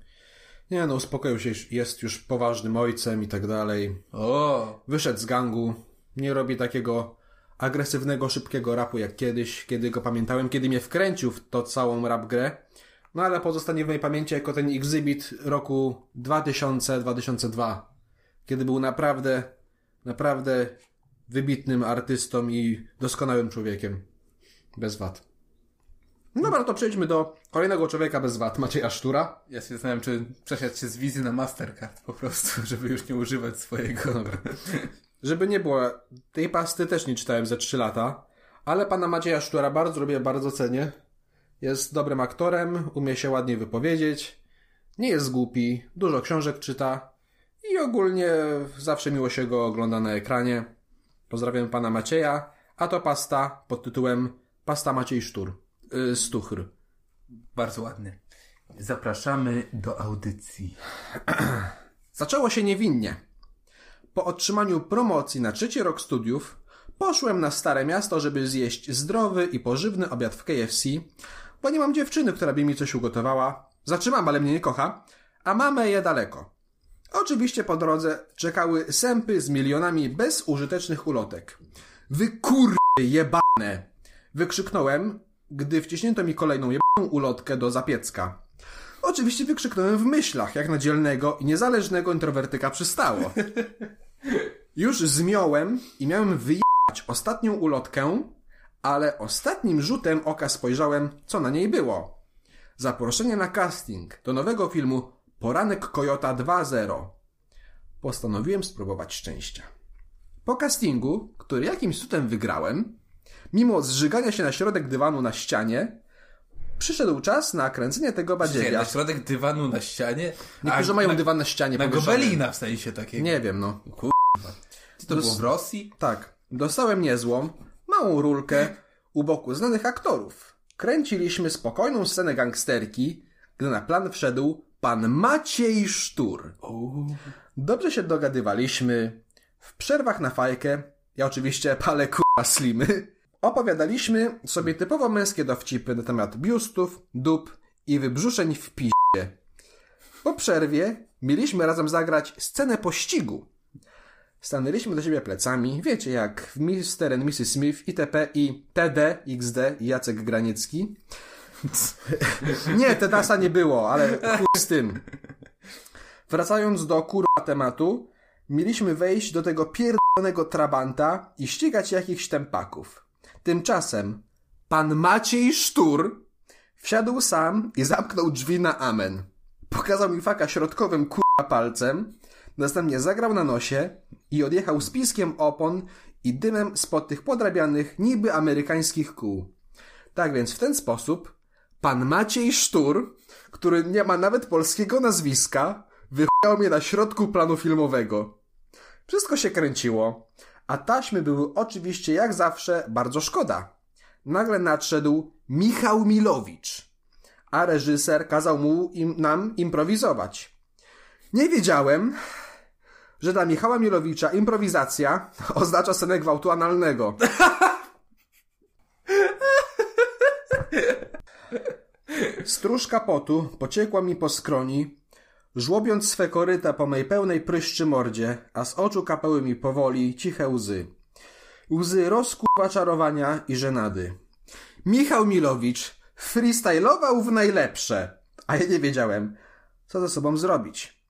Nie no, uspokoił się, jest już poważnym ojcem i tak dalej. O, Wyszedł z gangu, nie robi takiego agresywnego, szybkiego rapu jak kiedyś, kiedy go pamiętałem, kiedy mnie wkręcił w to całą rap grę. No ale pozostanie w mojej pamięci jako ten exhibit roku 2000-2002, kiedy był naprawdę, naprawdę wybitnym artystą i doskonałym człowiekiem. Bez wad. No dobra, to przejdźmy do kolejnego człowieka bez wad, Macieja Sztura. ja się zastanawiam, czy przesiadł się z wizy na Mastercard po prostu, żeby już nie używać swojego. Żeby nie było, tej pasty też nie czytałem ze 3 lata, ale pana Macieja Sztura bardzo lubię, bardzo cenię. Jest dobrym aktorem, umie się ładnie wypowiedzieć, nie jest głupi, dużo książek czyta i ogólnie zawsze miło się go ogląda na ekranie. Pozdrawiam pana Macieja, a to pasta pod tytułem Pasta Maciej Sztur. Yy, Stuchr. Bardzo ładny. Zapraszamy do audycji. Zaczęło się niewinnie. Po otrzymaniu promocji na trzeci rok studiów poszłem na Stare Miasto, żeby zjeść zdrowy i pożywny obiad w KFC, bo nie mam dziewczyny, która by mi coś ugotowała. Zatrzymam, ale mnie nie kocha, a mamę je daleko. Oczywiście po drodze czekały sępy z milionami bezużytecznych ulotek. Wy kurwy jebane! Wykrzyknąłem, gdy wciśnięto mi kolejną jebaną ulotkę do zapiecka. Oczywiście wykrzyknąłem w myślach, jak na dzielnego i niezależnego introwertyka przystało. Już zmiąłem i miałem wyjechać ostatnią ulotkę, ale ostatnim rzutem oka spojrzałem, co na niej było. Zaproszenie na casting do nowego filmu Poranek Kojota 2.0. Postanowiłem spróbować szczęścia. Po castingu, który jakimś cudem wygrałem, mimo zżygania się na środek dywanu na ścianie, przyszedł czas na kręcenie tego Na badziewia. środek dywanu na ścianie. Niektórzy A mają Tak, na, dywan na ścianie. Na powieszony. gobelina w sensie takiego. Nie wiem, no. to było dos- w Rosji? Tak, dostałem niezłą, małą rulkę u boku znanych aktorów. Kręciliśmy spokojną scenę gangsterki, gdy na plan wszedł pan Maciej Sztur. Dobrze się dogadywaliśmy. W przerwach na fajkę, ja oczywiście palę k***a slimy, opowiadaliśmy sobie typowo męskie dowcipy na temat biustów, dup i wybrzuszeń w piździe. Po przerwie mieliśmy razem zagrać scenę pościgu. Stanęliśmy do siebie plecami, wiecie jak w Mr. and Mrs. Smith, ITP i TD, XD, Jacek Graniecki. nie, Tedasa nie było, ale chuj z tym. Wracając do kurwa tematu, mieliśmy wejść do tego pierdolonego trabanta i ścigać jakichś tempaków. Tymczasem pan Maciej Sztur wsiadł sam i zamknął drzwi na amen. Pokazał mi faka środkowym kurwa palcem, następnie zagrał na nosie i odjechał z piskiem opon i dymem spod tych podrabianych niby amerykańskich kół. Tak więc w ten sposób pan Maciej Sztur, który nie ma nawet polskiego nazwiska, wychłał mnie na środku planu filmowego. Wszystko się kręciło, a taśmy były oczywiście jak zawsze bardzo szkoda. Nagle nadszedł Michał Milowicz, a reżyser kazał mu im, nam improwizować. Nie wiedziałem, że dla Michała Milowicza improwizacja oznacza scenę gwałtu analnego. Stróżka potu pociekła mi po skroni, żłobiąc swe koryta po mej pełnej pryszczy mordzie, a z oczu kapały mi powoli ciche łzy. Łzy rozkuwa czarowania i żenady. Michał Milowicz freestylował w najlepsze, a ja nie wiedziałem, co ze sobą zrobić.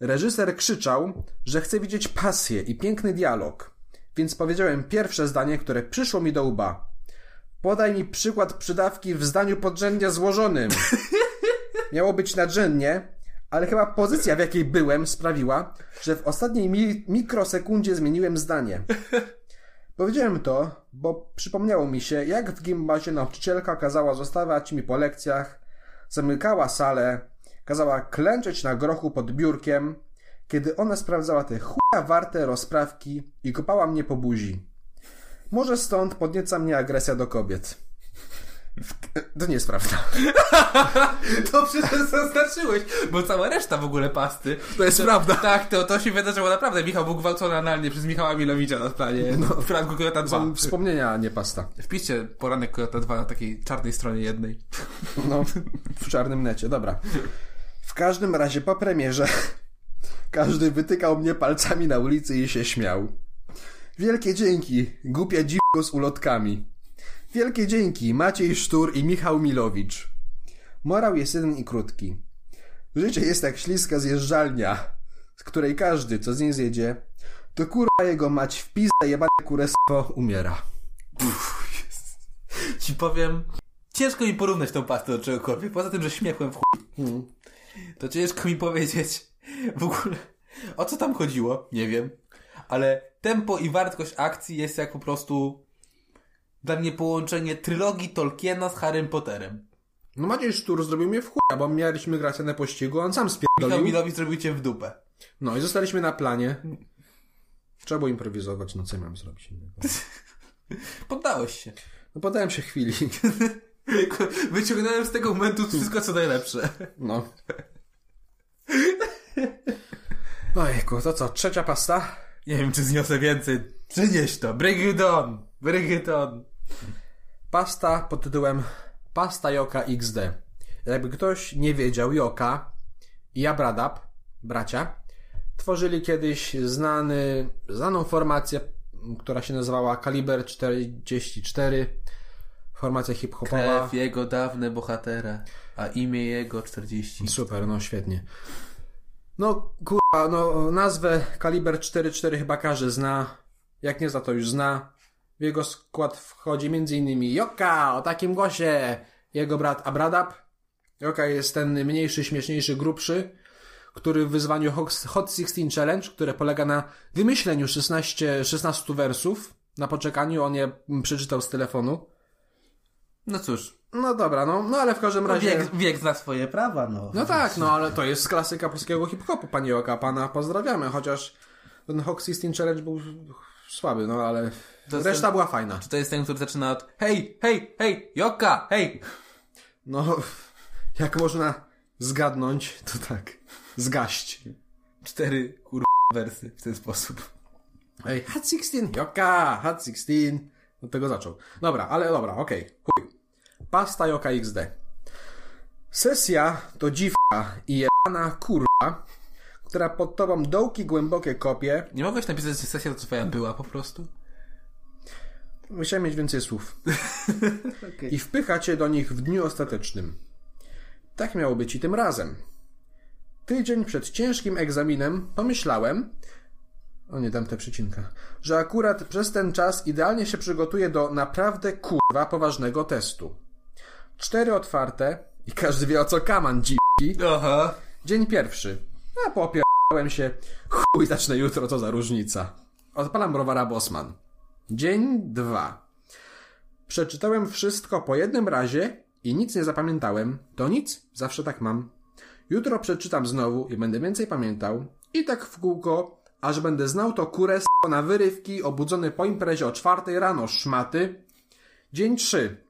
Reżyser krzyczał, że chce widzieć pasję i piękny dialog, więc powiedziałem pierwsze zdanie, które przyszło mi do łba. Podaj mi przykład przydawki w zdaniu podrzędnie złożonym. Miało być nadrzędnie, ale chyba pozycja, w jakiej byłem, sprawiła, że w ostatniej mi- mikrosekundzie zmieniłem zdanie. Powiedziałem to, bo przypomniało mi się, jak w gimbazie nauczycielka kazała zostawać mi po lekcjach, zamykała salę, kazała klęczeć na grochu pod biurkiem, kiedy ona sprawdzała te chuja warte rozprawki i kopała mnie po buzi. Może stąd podnieca mnie agresja do kobiet. W- To nie jest prawda. To przecież zaznaczyłeś, bo cała reszta w ogóle pasty. To jest prawda. Tak, to, to się wydarzyło naprawdę. Michał był gwałcony analnie przez Michała Milowicza na planie no. Franku Kojota 2. Są wspomnienia, a nie pasta. Wpiszcie poranek Kojota 2 na takiej czarnej stronie jednej. No, w czarnym necie, dobra. W każdym razie po premierze każdy wytykał mnie palcami na ulicy i się śmiał. Wielkie dzięki, głupia dziwko z ulotkami. Wielkie dzięki, Maciej Sztur i Michał Milowicz. Morał jest jeden i krótki. Życie jest jak śliska zjeżdżalnia, z której każdy, co z niej zjedzie, to kurwa jego mać w pizdę jebane kuresko umiera. Ci powiem, ciężko mi porównać tą pastę do czegokolwiek. Poza tym, że śmiechłem w chuj. Hmm. To ciężko mi powiedzieć w ogóle, o co tam chodziło, nie wiem. Ale tempo i wartość akcji jest jak po prostu dla mnie połączenie trylogii Tolkiena z Harrym Potterem. No Maciej Sztur zrobił mnie w chuja, bo mieliśmy grać na pościgu, a on sam Michał spierdolił. Milowicz zrobił cię w dupę. No i zostaliśmy na planie. Trzeba było improwizować, no co ja mam zrobić innego. Poddałeś się. No podałem się chwili. Wyciągnąłem z tego momentu wszystko, co najlepsze. No. Ojku, to co, trzecia pasta? Nie wiem, czy zniosę więcej. Przynieś to. Bring it on. Bring it on. Pasta pod tytułem Pasta Joka XD. Jakby ktoś nie wiedział, Joka i Abradab, bracia, tworzyli kiedyś znany, znaną formację, która się nazywała Kaliber 44, formacja hip-hopowa. Krew jego dawne bohatera, a imię jego 40. Super, no świetnie. No kurwa, no nazwę Kaliber 4.4 chyba każdy zna. Jak nie zna, to już zna. W jego skład wchodzi m.in. Joka o takim głosie, jego brat Abradab. Joka jest ten mniejszy, śmieszniejszy, grubszy. który w wyzwaniu Hot- Hot 16 Challenge, które polega na wymyśleniu 16, 16 wersów na poczekaniu, on je mm, przeczytał z telefonu. No cóż, No dobra, no, no ale w każdym razie... wiek, wiek zna swoje prawa, no. No tak, no ale to jest klasyka polskiego hip-hopu, panie Joka, pana pozdrawiamy, chociaż ten Hawk 16 Challenge był słaby, no ale To reszta ten- była fajna. Czy to jest ten, który zaczyna od hej, hej, hej, Joka, hej. No, jak można zgadnąć, to tak, zgaść. Cztery kur... wersy w ten sposób. Ej, Hot 16, Joka, Hot 16, od tego zaczął. Dobra, ale dobra, okej, chuj. Pasta Joka XD. Sesja to dziwka i jebana kurwa, która pod tobą dołki głębokie kopie, Nie mogłeś napisać, że sesja to twoja była po prostu? Musiałem mieć więcej słów. I wpycha cię do nich w dniu ostatecznym. Tak miało być i tym razem. Tydzień przed ciężkim egzaminem pomyślałem, o nie, tamte przycinka, że akurat przez ten czas idealnie się przygotuję do naprawdę kurwa poważnego testu. Cztery otwarte i każdy wie o co kaman dziki. Aha. Dzień pierwszy. A popierdałem się. Chuj, zacznę jutro, co za różnica. Odpalam browara Bosman. Dzień dwa. Przeczytałem wszystko po jednym razie i nic nie zapamiętałem. To nic, zawsze tak mam. Jutro przeczytam znowu i będę więcej pamiętał. I tak w kółko, aż będę znał to kurę s***o na wyrywki, obudzony po imprezie o czwartej rano, szmaty. Dzień trzy.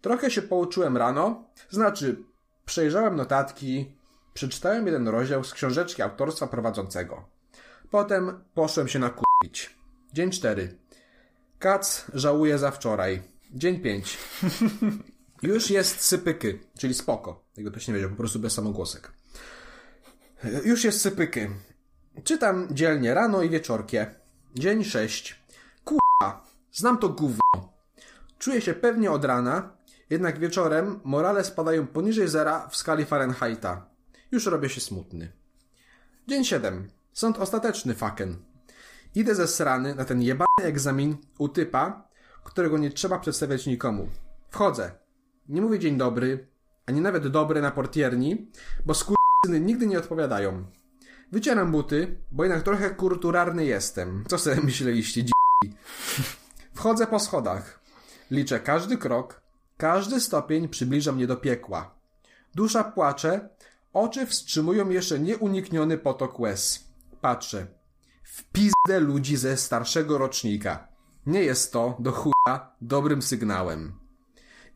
Trochę się pouczyłem rano, znaczy przejrzałem notatki, przeczytałem jeden rozdział z książeczki autorstwa prowadzącego. Potem poszłem się nakupić. Dzień 4. Kac żałuje za wczoraj. Dzień 5. Już jest sypyky, czyli spoko. Tego ktoś nie wiedział, po prostu bez samogłosek. Już jest sypyky. Czytam dzielnie rano i wieczorkie. Dzień 6. Kurwa, znam to gówno. Czuję się pewnie od rana, jednak wieczorem morale spadają poniżej zera w skali Fahrenheita. Już robię się smutny. Dzień 7. Sąd ostateczny, faken. Idę ze srany na ten jebany egzamin u typa, którego nie trzeba przedstawiać nikomu. Wchodzę. Nie mówię dzień dobry, ani nawet dobry na portierni, bo skurczyny nigdy nie odpowiadają. Wycieram buty, bo jednak trochę kulturalny jestem. Co sobie myśleliście, dzi? Wchodzę po schodach. Liczę każdy krok, każdy stopień przybliża mnie do piekła. Dusza płacze, oczy wstrzymują jeszcze nieunikniony potok łez. Patrzę. W pizdę ludzi ze starszego rocznika. Nie jest to, do chuja, dobrym sygnałem.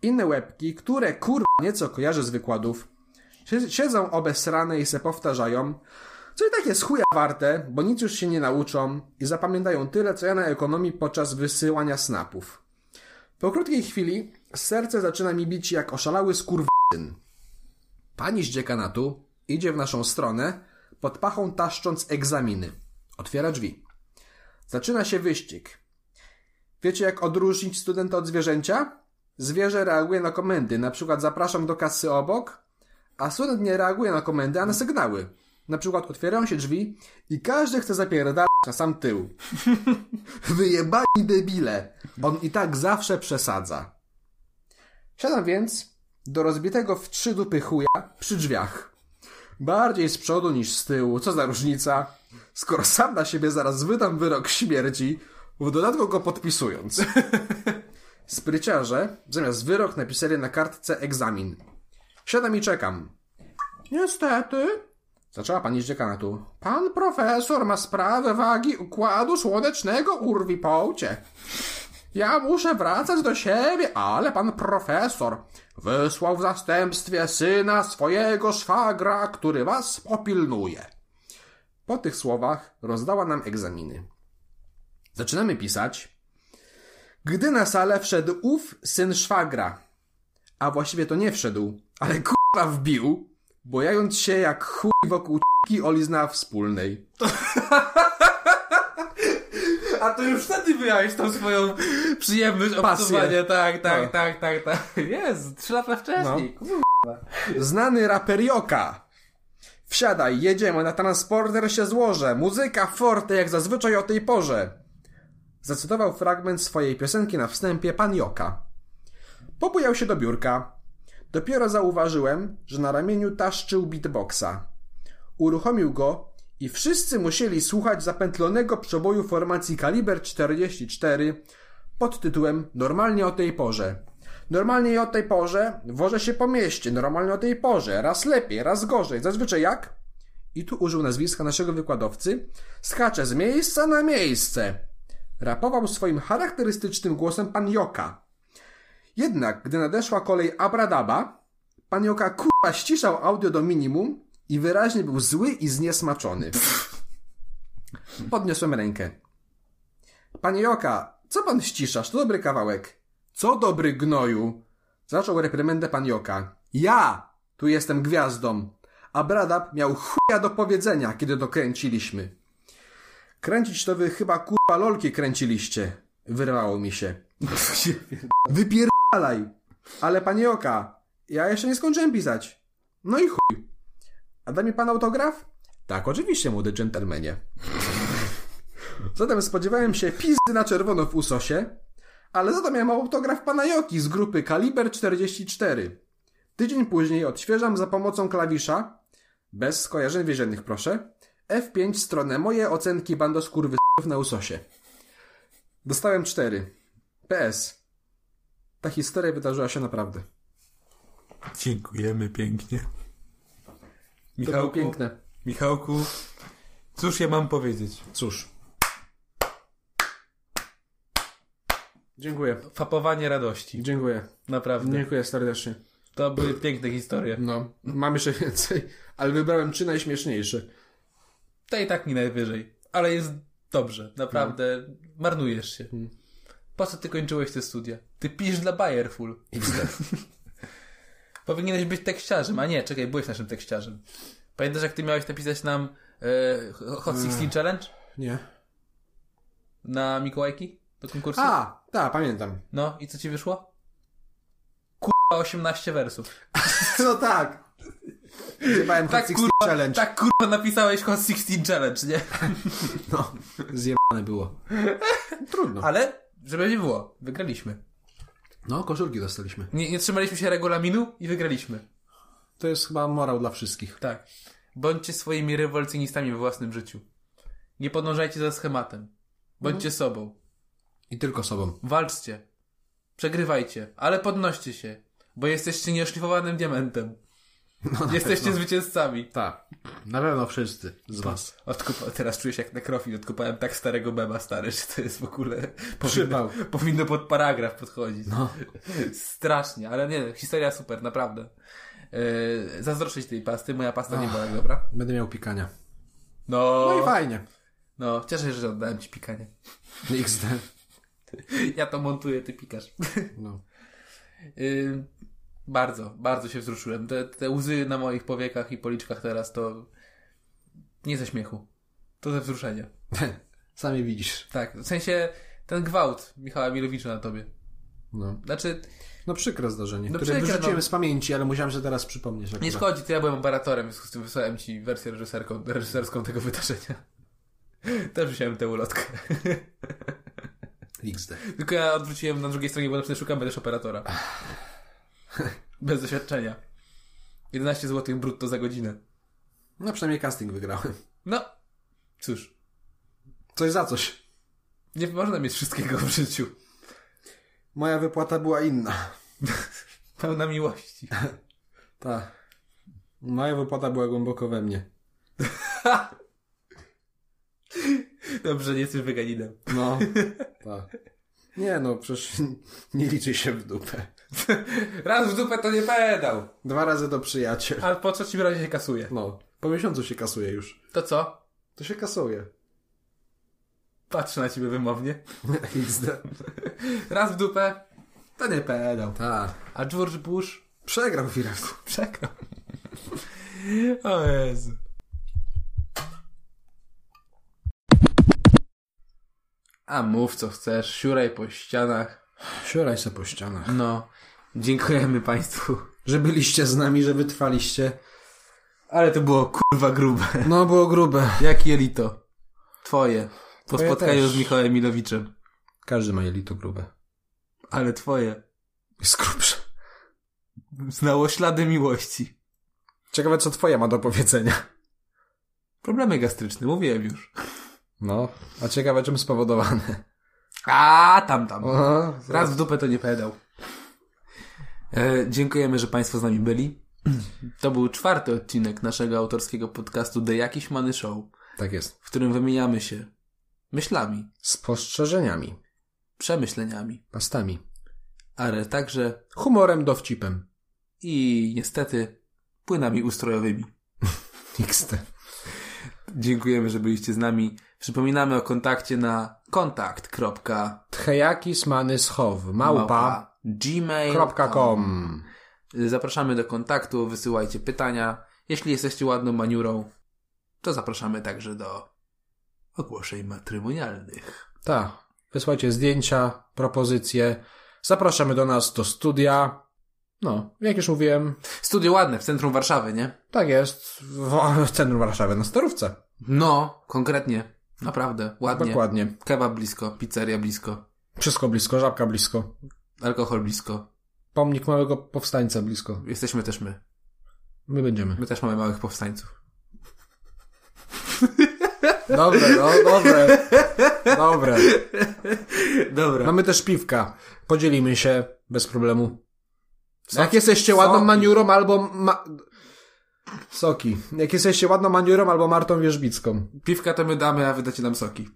Inne łebki, które kurwa nieco kojarzę z wykładów, sie- siedzą obesrane i se powtarzają, co i tak jest chuja warte, bo nic już się nie nauczą i zapamiętają tyle, co ja na ekonomii podczas wysyłania snapów. Po krótkiej chwili serce zaczyna mi bić jak oszalały skurwyn. Pani z dziekanatu idzie w naszą stronę, pod pachą taszcząc egzaminy. Otwiera drzwi. Zaczyna się wyścig. Wiecie jak odróżnić studenta od zwierzęcia? Zwierzę reaguje na komendy, na przykład zapraszam do kasy obok, a student nie reaguje na komendy, a na sygnały. Na przykład otwierają się drzwi i każdy chce zapierdalać na sam tył. Wyjebani debile. On i tak zawsze przesadza. Siadam więc do rozbitego w trzy dupy chuja przy drzwiach. Bardziej z przodu niż z tyłu, co za różnica. Skoro sam na siebie zaraz wydam wyrok śmierci, w dodatku go podpisując. Spryciarze zamiast wyrok napisali na kartce egzamin. Siadam i czekam. Niestety, Zaczęła pani z dziekanatu. Pan profesor ma sprawę wagi układu słonecznego urwi poucie. Ja muszę wracać do siebie, ale pan profesor wysłał w zastępstwie syna swojego szwagra, który was popilnuje. Po tych słowach rozdała nam egzaminy. Zaczynamy pisać. Gdy na salę wszedł ów syn szwagra, a właściwie to nie wszedł, ale kurwa wbił, bojając się jak chuj wokół c**ki olizna wspólnej. A to już wtedy wyjąłeś tą swoją przyjemność Pasję. obcowania. Tak, tak, No. tak, tak, tak. Jest, trzy lata wcześniej. No. Znany raper Joka. Wsiadaj, jedziemy, na transporter się złożę. Muzyka forte jak zazwyczaj o tej porze. Zacytował fragment swojej piosenki na wstępie pan Joka. Pobujał się do biurka. Dopiero zauważyłem, że na ramieniu taszczył beatboxa. uruchomił go i wszyscy musieli słuchać zapętlonego przeboju formacji kaliber 44 pod tytułem Normalnie o tej porze. Normalnie o tej porze wożę się po mieście, normalnie o tej porze, raz lepiej, raz gorzej, zazwyczaj jak? I tu użył nazwiska naszego wykładowcy, skacze z miejsca na miejsce. Rapował swoim charakterystycznym głosem pan Joka. Jednak, gdy nadeszła kolej Abradaba, pan Joka kurwa ściszał audio do minimum i wyraźnie był zły i zniesmaczony. Podniosłem rękę. Panie Joka, co pan ściszasz? To dobry kawałek. Co dobry gnoju? Zaczął reprymendę pan Joka. Ja tu jestem gwiazdą. A Bradab miał chuja do powiedzenia, kiedy dokręciliśmy. Kręcić to wy chyba kurwa lolki kręciliście. Wyrwało mi się. Wypierdalaj! Ale panie Joka, ja jeszcze nie skończyłem pisać. No i chuj. A da mi pan autograf? Tak, oczywiście, młody dżentelmenie. Zatem spodziewałem się pizdy na czerwono w usosie, ale za to miałem autograf pana Joki z grupy Kaliber 44. Tydzień później odświeżam za pomocą klawisza, bez skojarzeń więziennych proszę, F5 stronę moje ocenki bandoskurwy na usosie. Dostałem 4. PS. Ta historia wydarzyła się naprawdę. Dziękujemy pięknie. To było piękne. Michałku, cóż ja mam powiedzieć? Cóż. Dziękuję. Fapowanie radości. Dziękuję. Naprawdę. Dziękuję serdecznie. To były piękne historie. No, mam jeszcze więcej, ale wybrałem trzy najśmieszniejsze. To i tak mi najwyżej. Ale jest dobrze. Naprawdę. Marnujesz się. Po co ty kończyłeś te studia? Ty pisz dla Bayerful. Powinieneś być tekściarzem. A nie, czekaj, byłeś naszym tekściarzem. Pamiętasz, jak ty miałeś napisać nam e, Hot 16 Challenge? Nie. Na Mikołajki? Do konkursu? A, tak, pamiętam. No, i co ci wyszło? Kurwa 18 wersów. No tak. Zjebałem Tak tak, kurwa, Challenge. tak kurwa napisałeś Hot 16 Challenge, nie? No, zjebane było. Trudno. Ale, żeby nie było, wygraliśmy. No, koszulki dostaliśmy. Nie, nie trzymaliśmy się regulaminu i wygraliśmy. To jest chyba morał dla wszystkich. Tak. Bądźcie swoimi rewolucjonistami we własnym życiu. Nie podążajcie za schematem. Mhm. Bądźcie sobą. I tylko sobą. Walczcie. Przegrywajcie, ale podnoście się, bo jesteście nieoszlifowanym diamentem. No, jesteście zwycięzcami. Tak. Na pewno wszyscy z was. Odkupa, teraz czuję się jak nekrofil, odkopałem tak starego beba, stary, że to jest w ogóle... Przypał. No. Powinno, powinno pod paragraf podchodzić. Strasznie, ale nie, historia super, naprawdę. Yy, zazdroszczę ci tej pasty, moja pasta nie była tak dobra. Będę miał pikania. No, No i fajnie. no, cieszę się, że oddałem ci pikanie. XD. Ja to montuję, ty pikasz. No. Yy, bardzo, bardzo się wzruszyłem. Te, te łzy na moich powiekach i policzkach teraz to nie ze śmiechu. To ze wzruszenia. Sami widzisz. Tak, w sensie ten gwałt Michała Milowicza na tobie. No. Znaczy, No przykre zdarzenie, No które przykre, wyrzuciłem no. z pamięci, ale musiałem się teraz przypomnieć. nie akurat. szkodzi, to ja byłem operatorem, w związku z tym wysłałem ci wersję reżyserką, reżyserską tego wydarzenia. Też wziąłem tę ulotkę. XD. Tylko ja odwróciłem na drugiej stronie, bo napisane szukamy też operatora. Bez doświadczenia. 11 zł brutto za godzinę. No przynajmniej casting wygrałem. No, cóż. Coś za coś. Nie można mieć wszystkiego w życiu. Moja wypłata była inna. Pełna miłości. Ta. Moja wypłata była głęboko we mnie. Dobrze, nie jesteś weganinem. No. Ta. Nie no, przecież nie liczy się w dupę. Raz w dupę to nie pedał. Dwa razy do przyjaciel. A po trzecim razie się kasuje. No. Po miesiącu się kasuje już. To co? To się kasuje. Patrzę na ciebie wymownie. XD. Raz w dupę to nie pedał. Ta. A George Bush Przegrał w Iraku. przegrał. o Jezu. A mów co chcesz, siuraj po ścianach. Sioraj se po ścianach. No, dziękujemy Państwu. Że byliście z nami, że wytrwaliście. Ale to było kurwa grube. No było grube. Jak jelito. Twoje. Po Twoje spotkaniu też. z Michałem Milowiczem. Każdy ma jelito grube. Ale twoje. Jest grubsze. Znało ślady miłości. Ciekawe co twoja ma do powiedzenia. Problemy gastryczne, mówiłem już. No, a ciekawe czym spowodowane. A tam, tam. O, Raz w dupę to nie pedał. E, dziękujemy, że Państwo z nami byli. To był czwarty odcinek naszego autorskiego podcastu The Jakiś Many Show, tak jest. w którym wymieniamy się myślami, Spostrzeżeniami, przemyśleniami, pastami, ale także humorem, dowcipem. i niestety płynami ustrojowymi. XT. Dziękujemy, że byliście z nami. Przypominamy o kontakcie na kontakt.małpa Tchejaki smany schow, małpa, kropka gmail.com com. Zapraszamy do kontaktu, wysyłajcie pytania. Jeśli jesteście ładną maniurą, to zapraszamy także do ogłoszeń matrymonialnych. Tak, wysłajcie zdjęcia, propozycje. Zapraszamy do nas do studia. No, jak już mówiłem, Studio ładne w centrum Warszawy, nie? tak jest, w, w centrum Warszawy, na Starówce. No, konkretnie. Naprawdę, ładnie. Dokładnie. Kebab blisko, pizzeria blisko, Wszystko blisko, żabka blisko. alkohol blisko. Pomnik małego powstańca blisko. Jesteśmy też my. My będziemy. My też mamy małych powstańców. Dobre, no, dobre. Dobre. Dobra. Mamy też piwka. Podzielimy się bez problemu. Jak jesteście Soki. ładną maniurą albo ma... Soki. Jak jesteście ładną maniurą albo Martą Wierzbicką. Piwka to my damy, a wydacie nam soki.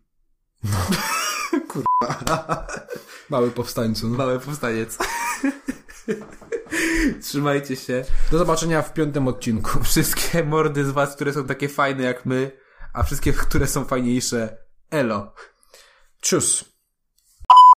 Mały powstańcu. No. Mały powstaniec. Trzymajcie się. Do zobaczenia w piątym odcinku. Wszystkie mordy z was, które są takie fajne jak my, a wszystkie, które są fajniejsze, elo. Tschüss.